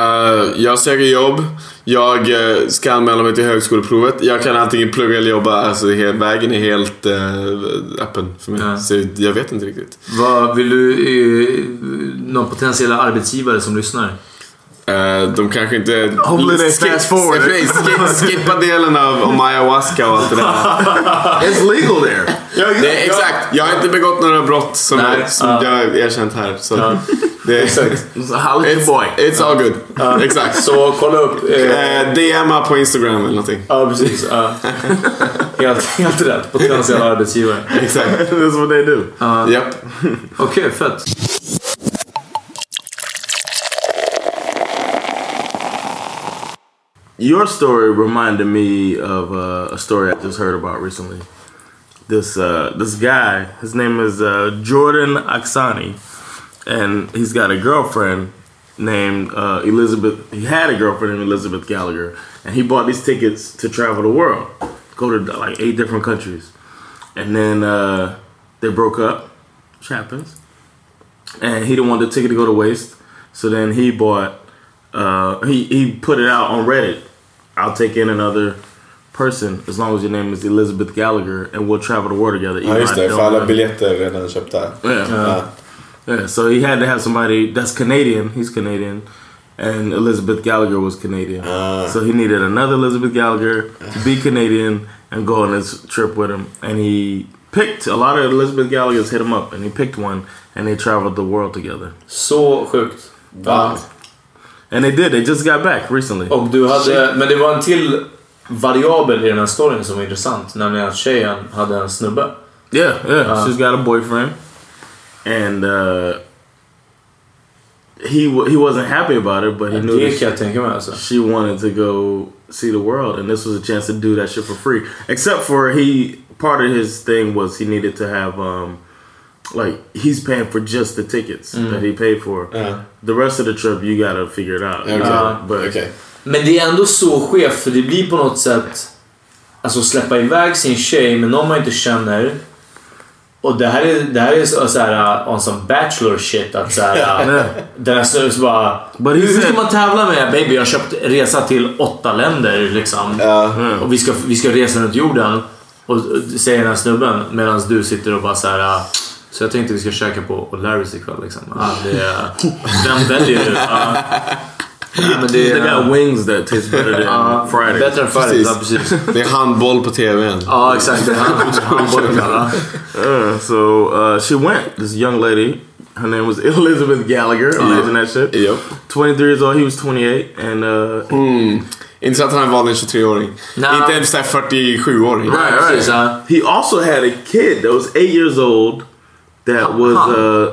[SPEAKER 1] Eh, jag söker jobb. Jag eh, ska anmäla mig till högskoleprovet. Jag kan antingen plugga eller jobba. Alltså, det är- vägen är helt eh, öppen för mig. Så jag vet inte riktigt.
[SPEAKER 2] Vad vill du... Eh, någon potentiella arbetsgivare som lyssnar?
[SPEAKER 1] Eh, de kanske inte...
[SPEAKER 2] Hopefully they
[SPEAKER 1] Skip-
[SPEAKER 2] fast forward.
[SPEAKER 1] skip- skip- Skippa delen av om ayahuasca och allt det där.
[SPEAKER 4] It's legal there.
[SPEAKER 1] Det är, exakt, jag har inte begått några brott som,
[SPEAKER 4] Nej,
[SPEAKER 1] som
[SPEAKER 4] ja.
[SPEAKER 1] jag har erkänt här. Så det är,
[SPEAKER 4] Exakt. How
[SPEAKER 1] it's,
[SPEAKER 4] boy.
[SPEAKER 1] it's all good. Exakt.
[SPEAKER 4] Så kolla upp.
[SPEAKER 1] Eh, DMa på Instagram eller någonting.
[SPEAKER 2] Ja, precis. Ja. helt, helt rätt. Potentiella arbetsgivare.
[SPEAKER 1] Exakt.
[SPEAKER 4] That's what they do.
[SPEAKER 2] Uh,
[SPEAKER 1] Japp.
[SPEAKER 2] Okej, fett.
[SPEAKER 4] Your story reminded me of uh, a story I just heard about recently. This uh, this guy, his name is uh, Jordan Aksani, and he's got a girlfriend named uh, Elizabeth. He had a girlfriend named Elizabeth Gallagher, and he bought these tickets to travel the world, go to like eight different countries, and then uh, they broke up. Which happens. and he didn't want the ticket to go to waste. So then he bought, uh, he he put it out on Reddit. I'll take in another person as long as your name is Elizabeth Gallagher, and we'll travel the world together. even
[SPEAKER 1] Ja just
[SPEAKER 4] though I
[SPEAKER 1] det,
[SPEAKER 4] don't
[SPEAKER 1] för alla
[SPEAKER 4] know-
[SPEAKER 1] biljetter är redan köpta.
[SPEAKER 4] Oh, Yeah.
[SPEAKER 1] Ja.
[SPEAKER 4] yeah. So he had to have somebody that's Canadian. He's Canadian. And Elizabeth Gallagher was Canadian.
[SPEAKER 2] Ah.
[SPEAKER 4] so he needed another Elizabeth Gallagher to be Canadian and go on this trip with him. And he picked a lot of Elizabeth Gallagher's hit him up and he picked one and they traveled the world together.
[SPEAKER 2] Så sjukt.
[SPEAKER 4] Wow. And they did. They just got back recently.
[SPEAKER 2] Och du hade, men det var en till variabel i den här storyn som var intressant. Nämligen att tjejen hade en snubbe.
[SPEAKER 4] Yeah, yeah.
[SPEAKER 2] Uh,
[SPEAKER 4] She's got a boyfriend, and uh, he wa he wasn't happy about it, but he knew
[SPEAKER 2] det
[SPEAKER 4] that
[SPEAKER 2] kan jag tänka mig, alltså.
[SPEAKER 4] she wanted to go see the world, and this was a chance to do that shit for free. Except for he part of his thing was he needed to have um, like he's paying for just the tickets
[SPEAKER 2] Mm.
[SPEAKER 4] that he paid for.
[SPEAKER 2] Yeah.
[SPEAKER 4] The rest of the trip, you gotta figure it out. you
[SPEAKER 2] Okay.
[SPEAKER 4] know, but
[SPEAKER 2] Men det är ändå så skevt för det blir på något sätt... Alltså släppa iväg sin tjej med någon man inte känner. Och det här är, det här är så, så här, uh, on some bachelor shit. Att så här, uh, den här snubben så bara...
[SPEAKER 4] But
[SPEAKER 2] hur, hur ska man tävla med? Baby, jag har köpt resa till åtta länder liksom. Och vi ska, vi ska resa runt jorden. Och, och säger den här snubben medan du sitter och bara så här. uh, Så jag tänkte vi ska käka på O'Larrys ikväll liksom. Ja, det, är- vem väljer du? Ja. Nej, men det, är-
[SPEAKER 4] They got wings that taste better than
[SPEAKER 2] Ja,
[SPEAKER 4] Fridays.
[SPEAKER 2] Bättre än Fridays, ja precis.
[SPEAKER 1] Det är handboll på tvn.
[SPEAKER 2] Ja, exakt. Det är hand- handboll ibland.
[SPEAKER 4] Uh, so uh, she went. This young lady, her name was Elizabeth Gallagher. Imagine that shit.
[SPEAKER 1] Yep.
[SPEAKER 4] 23 years old. He was 28, and uh,
[SPEAKER 1] Inte så att han valde en 23-åring. Inte en sån här 47-åring.
[SPEAKER 4] Right, right.
[SPEAKER 2] uh,
[SPEAKER 4] He also had a kid that was eight years old. That was uh,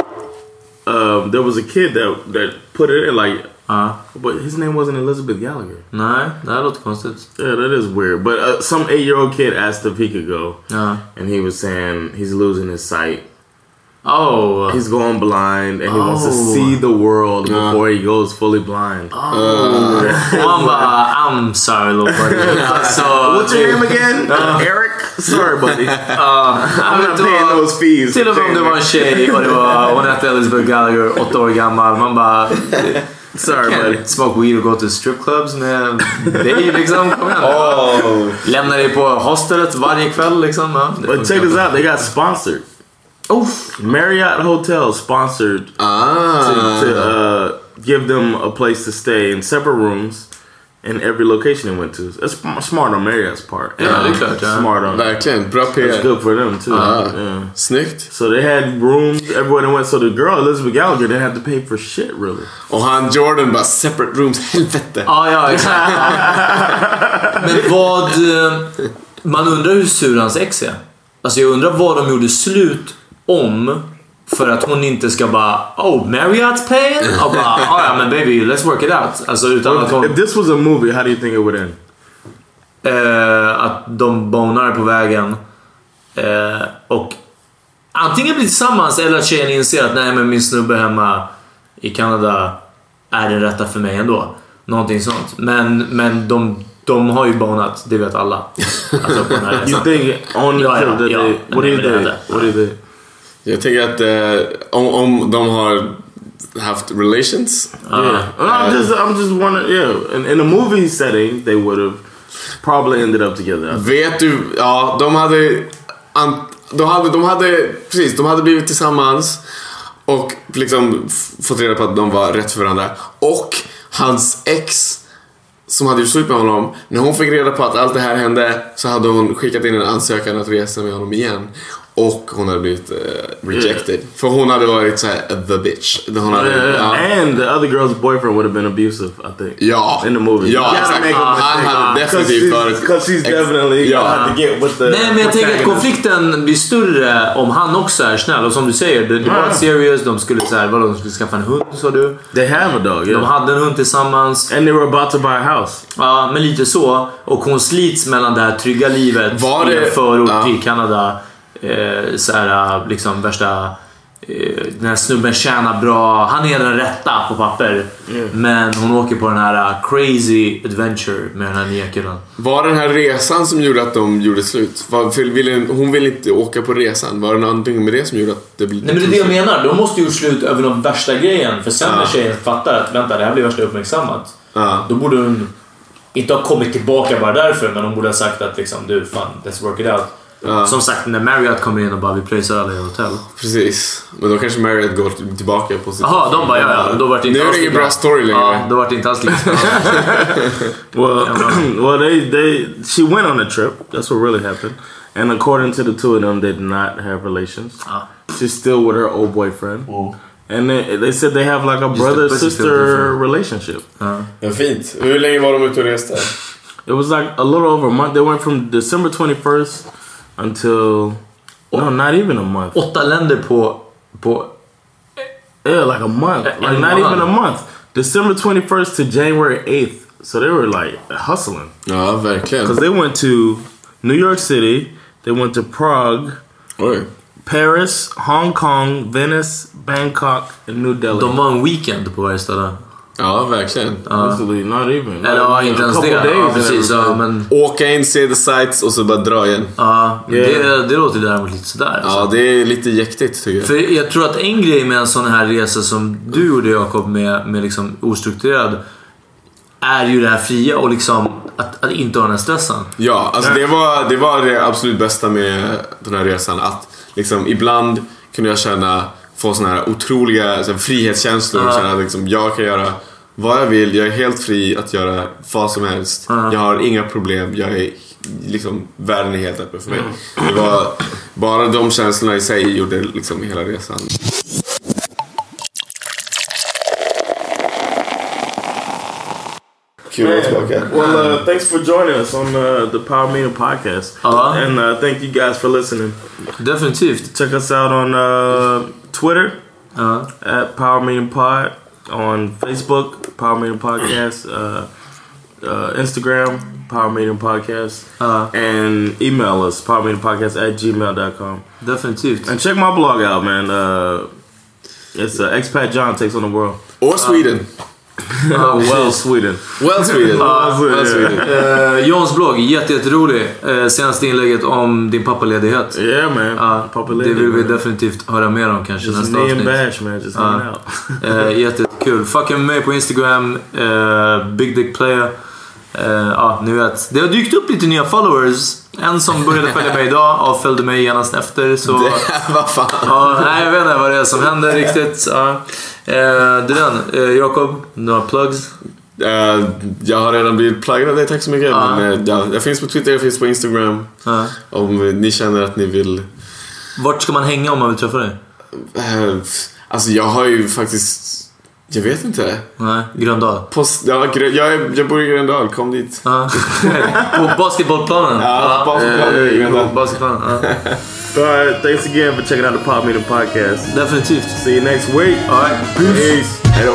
[SPEAKER 4] um, there was a kid that that put it in like. Uh, but his name wasn't Elizabeth Gallagher.
[SPEAKER 2] Nej, det här låter konstigt.
[SPEAKER 4] Yeah, that is weird. But uh, some eight-year-old kid asked if he could go,
[SPEAKER 2] Ja.
[SPEAKER 4] and he was saying he's losing his sight.
[SPEAKER 2] Oh.
[SPEAKER 4] He's going blind, and he wants to
[SPEAKER 2] Oh.
[SPEAKER 4] see the world before he goes fully blind.
[SPEAKER 2] Och han bara, Oh. I'm sorry little buddy. Uh, Alltså,
[SPEAKER 4] What's your name again?
[SPEAKER 2] Ja.
[SPEAKER 4] Eric? Sorry buddy.
[SPEAKER 2] Uh,
[SPEAKER 4] I'm
[SPEAKER 2] men
[SPEAKER 4] not
[SPEAKER 2] då-
[SPEAKER 4] paying those fees.
[SPEAKER 2] Till och med om det var en tjej och det var, hon hette Elizabeth Gallagher, åtta år gammal. Man bara...
[SPEAKER 4] Sorry buddy.
[SPEAKER 2] Smoke weed och gå till stripclubs med dig liksom. Kom igen.
[SPEAKER 1] Oh.
[SPEAKER 2] Lämna dig på hostelet varje kväll liksom. Ja,
[SPEAKER 4] But
[SPEAKER 2] det funkar
[SPEAKER 4] check this
[SPEAKER 2] inte.
[SPEAKER 4] out, they got sponsored. Marriott Hotel sponsored
[SPEAKER 1] Ah.
[SPEAKER 2] Typ,
[SPEAKER 4] to, to uh, give them a place to stay in separate rooms in every location they went to. That's sm- smart on Marriott's part.
[SPEAKER 1] Ja, det är klart, ja.
[SPEAKER 4] Smart on
[SPEAKER 1] Verkligen, bra PR.
[SPEAKER 4] That's good for them too.
[SPEAKER 1] Ah,
[SPEAKER 4] Yeah.
[SPEAKER 1] Snyggt.
[SPEAKER 4] So they had rooms everywhere they went. So the girl Elizabeth Gallagher didn't have to pay for shit really.
[SPEAKER 1] Och han Jordan bara separate rooms, helvete.
[SPEAKER 2] Ja, ja, exakt. Men vad... eh, Man undrar hur sur hans ex är. Alltså jag undrar vad de gjorde slut om för att hon inte ska bara “Oh, Marriott's paying?” och bara "Ah, ja men baby, let's work it out”. Alltså utan att hon...
[SPEAKER 4] If this was a movie, how do you think it would end?
[SPEAKER 2] Eh, att de bonar på vägen. Eh, och antingen blir tillsammans eller att tjejen inser att nej men min snubbe hemma i Kanada är den rätta för mig ändå. Någonting sånt. Men, men de, de har ju bonat, det vet alla. Alltså på den här
[SPEAKER 4] You
[SPEAKER 2] resan.
[SPEAKER 4] think on the
[SPEAKER 2] Ja, ja,
[SPEAKER 4] trip that
[SPEAKER 2] ja.
[SPEAKER 4] they, what do you
[SPEAKER 2] Nej, men det
[SPEAKER 4] think?
[SPEAKER 2] hade-
[SPEAKER 4] What do you think?
[SPEAKER 1] Jag tänker att eh, om, om de har haft relations.
[SPEAKER 4] Yeah.
[SPEAKER 2] Uh,
[SPEAKER 4] Ah, Well, I'm just, I'm just wondering. Yeah, in, in a movie setting, they would have probably ended up together.
[SPEAKER 1] Vet du, ja de hade, an, de hade, de hade, precis, de hade blivit tillsammans och liksom f- fått reda på att de var rätt för varandra. Och hans ex som hade gjort slut med honom, när hon fick reda på att allt det här hände så hade hon skickat in en ansökan att resa med honom igen. Och hon hade blivit eh, rejected. För hon hade varit
[SPEAKER 4] "Uh,
[SPEAKER 1] såhär the bitch. Hon hade,
[SPEAKER 4] Yeah,
[SPEAKER 1] ja.
[SPEAKER 4] Uh, And the other girl's boyfriend would have been abusive, I think.
[SPEAKER 1] Ja.
[SPEAKER 4] In the movie.
[SPEAKER 1] Ja,
[SPEAKER 4] You gotta
[SPEAKER 1] exakt.
[SPEAKER 4] make a mistake.
[SPEAKER 1] Han hade
[SPEAKER 4] Because
[SPEAKER 1] definitivt
[SPEAKER 4] she's-
[SPEAKER 1] varit-
[SPEAKER 4] Because she's
[SPEAKER 1] ex-
[SPEAKER 4] definitely
[SPEAKER 1] Ja.
[SPEAKER 4] gonna have to get with the
[SPEAKER 2] Nej men jag tänker att
[SPEAKER 4] protagonist.
[SPEAKER 2] konflikten blir större om han också är snäll. Och som du säger, det, det var
[SPEAKER 4] Ja.
[SPEAKER 2] serious. De skulle, så här, vadå, de skulle skaffa en hund sa du?
[SPEAKER 4] They have a dog, yeah.
[SPEAKER 2] De hade en hund tillsammans.
[SPEAKER 4] And they were about to buy a house.
[SPEAKER 2] Ja, men lite så. Och hon slits mellan det här trygga livet
[SPEAKER 1] Var
[SPEAKER 2] i
[SPEAKER 1] det-
[SPEAKER 2] en förort i Kanada. Eh, så här, liksom värsta... Eh, den här snubben tjänar bra. Han är den rätta på papper. Men hon åker på den här eh, crazy adventure med den här nya killen.
[SPEAKER 1] Var den här resan som gjorde att de gjorde slut? Var, för ville, hon ville inte åka på resan. Var det någonting med det som gjorde att det blev
[SPEAKER 2] Nej men det är det jag menar. De måste ju gjort slut över den värsta grejen. För sen när tjejen fattar att vänta, det här blir värsta uppmärksammat. Då borde hon inte ha kommit tillbaka bara därför, men hon borde ha sagt att liksom du fan, let's work it out. Som sagt, när Marriott kommer in och bara vi pröjsar alla i hotell.
[SPEAKER 1] Precis. Men då kanske Marriott går tillbaka på sitt...
[SPEAKER 2] Jaha, de bara ja, ja. Då vart det inte
[SPEAKER 1] Nu är det ingen bra story längre.
[SPEAKER 2] Ja, då vart det inte alls lika bra.
[SPEAKER 4] Well, well, they they she went on a trip. That's what really happened. And according to the two of them, they did not have relations.
[SPEAKER 2] Ah.
[SPEAKER 4] She's still with her old boyfriend.
[SPEAKER 2] Oh.
[SPEAKER 4] And they, they said they have like a
[SPEAKER 1] Just
[SPEAKER 4] brother
[SPEAKER 1] the pussy
[SPEAKER 4] sister
[SPEAKER 1] filter.
[SPEAKER 4] relationship.
[SPEAKER 2] Ah.
[SPEAKER 1] Ja, fint. Hur länge var de ute och reste?
[SPEAKER 4] It was like a little over a month. They went from December 21st until no, not even a month.
[SPEAKER 2] Åtta länder på på
[SPEAKER 4] yeah, like a month.
[SPEAKER 2] En
[SPEAKER 4] Like not
[SPEAKER 2] månad.
[SPEAKER 4] even a month. December 21st to January 8th. So they were like hustling.
[SPEAKER 1] Ja, verkligen.
[SPEAKER 4] Because they went to New York City, they went to Prague, Paris, Hong Kong, Venice, Bangkok, and New Delhi.
[SPEAKER 2] De var en weekend på varje ställe.
[SPEAKER 1] Ja, verkligen.
[SPEAKER 4] Basically, not even.
[SPEAKER 2] Eller ja, inte ens det. Ja, precis.
[SPEAKER 4] uh,
[SPEAKER 2] Ja, men
[SPEAKER 1] Åka in, se the sights och så bara dra igen.
[SPEAKER 2] Ja,
[SPEAKER 4] uh,
[SPEAKER 2] det, det låter däremot lite sådär. alltså.
[SPEAKER 1] Ja, det är lite jäktigt tycker jag.
[SPEAKER 2] För jag tror att en grej med en sån här resa som du gjorde Jakob med, med liksom ostrukturerad är ju det här fria och liksom att, att inte ha den här stressen.
[SPEAKER 1] Ja, alltså det var, det var det absolut bästa med den här resan. Att liksom ibland kunde jag känna, få såna här otroliga så här, frihetskänslor.
[SPEAKER 2] Ja.
[SPEAKER 1] Och känna att liksom, jag kan göra vad jag vill, jag är helt fri att göra vad som helst. Jag har inga problem, jag är liksom, världen är helt öppen för mig. Det var, bara de känslorna i sig gjorde liksom hela resan. Kul att vara tillbaka.
[SPEAKER 4] Well, uh, thanks for joining us on uh, the Power Meeting podcast.
[SPEAKER 2] Uh-huh.
[SPEAKER 4] And uh, thank you guys for listening.
[SPEAKER 2] Definitivt.
[SPEAKER 4] Check us out on uh, Twitter
[SPEAKER 2] uh
[SPEAKER 4] at Power Meeting Pod, on Facebook, Power Meeting Podcast, uh, uh, Instagram, Power Meeting Podcast, and email us, powermeetingpodcast at gmail.com.
[SPEAKER 2] Definitivt.
[SPEAKER 4] And check my blog out, man. Uh, it's uh, Expat John Takes on the World.
[SPEAKER 1] Or Sweden.
[SPEAKER 4] well, Sweden.
[SPEAKER 1] Well, Sweden.
[SPEAKER 2] Ja,
[SPEAKER 4] Well, Sweden.
[SPEAKER 2] eh, Johns blogg, jätte, jätterolig. Eh, senaste inlägget om din pappaledighet.
[SPEAKER 4] Yeah, man.
[SPEAKER 2] det vill vi
[SPEAKER 4] man.
[SPEAKER 2] definitivt höra mer om kanske
[SPEAKER 4] Just
[SPEAKER 2] nästa
[SPEAKER 4] me and
[SPEAKER 2] avsnitt.
[SPEAKER 4] Bash, man. Just hanging
[SPEAKER 2] Ja.
[SPEAKER 4] out.
[SPEAKER 2] Eh, Jättekul. Fucka med mig på Instagram, eh, Big Dick Player. Eh, ja, ni vet. Det har dykt upp lite nya followers
[SPEAKER 6] En som började följa mig idag avföljde mig genast efter. Så,
[SPEAKER 1] Det- vad fan?
[SPEAKER 6] Ja, nej, jag vet inte vad det är som händer riktigt. Ja. Eh, du den, eh, Jakob, några plugs?
[SPEAKER 1] Eh, jag har redan blivit pluggad av dig, tack så mycket. Men, eh, ja, jag finns på Twitter, jag finns på Instagram.
[SPEAKER 6] Ja.
[SPEAKER 1] Om ni känner att ni vill...
[SPEAKER 6] Vart ska man hänga om man vill träffa dig?
[SPEAKER 1] Alltså jag har ju faktiskt... Jag vet inte.
[SPEAKER 6] Nej, Gröndal?
[SPEAKER 1] Post, ja, grö, jag, är- jag bor i Gröndal, kom dit.
[SPEAKER 6] på basketbollplanen?
[SPEAKER 1] Ja, på basketplanen i Gröndal.
[SPEAKER 6] basketplanen.
[SPEAKER 4] All right, thanks again for checking out the Pod Meeting Podcast.
[SPEAKER 6] Definitivt.
[SPEAKER 4] See you next week. All right, peace.
[SPEAKER 1] Hej då.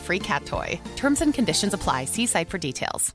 [SPEAKER 8] free cat toy. Terms and conditions apply. See site for details.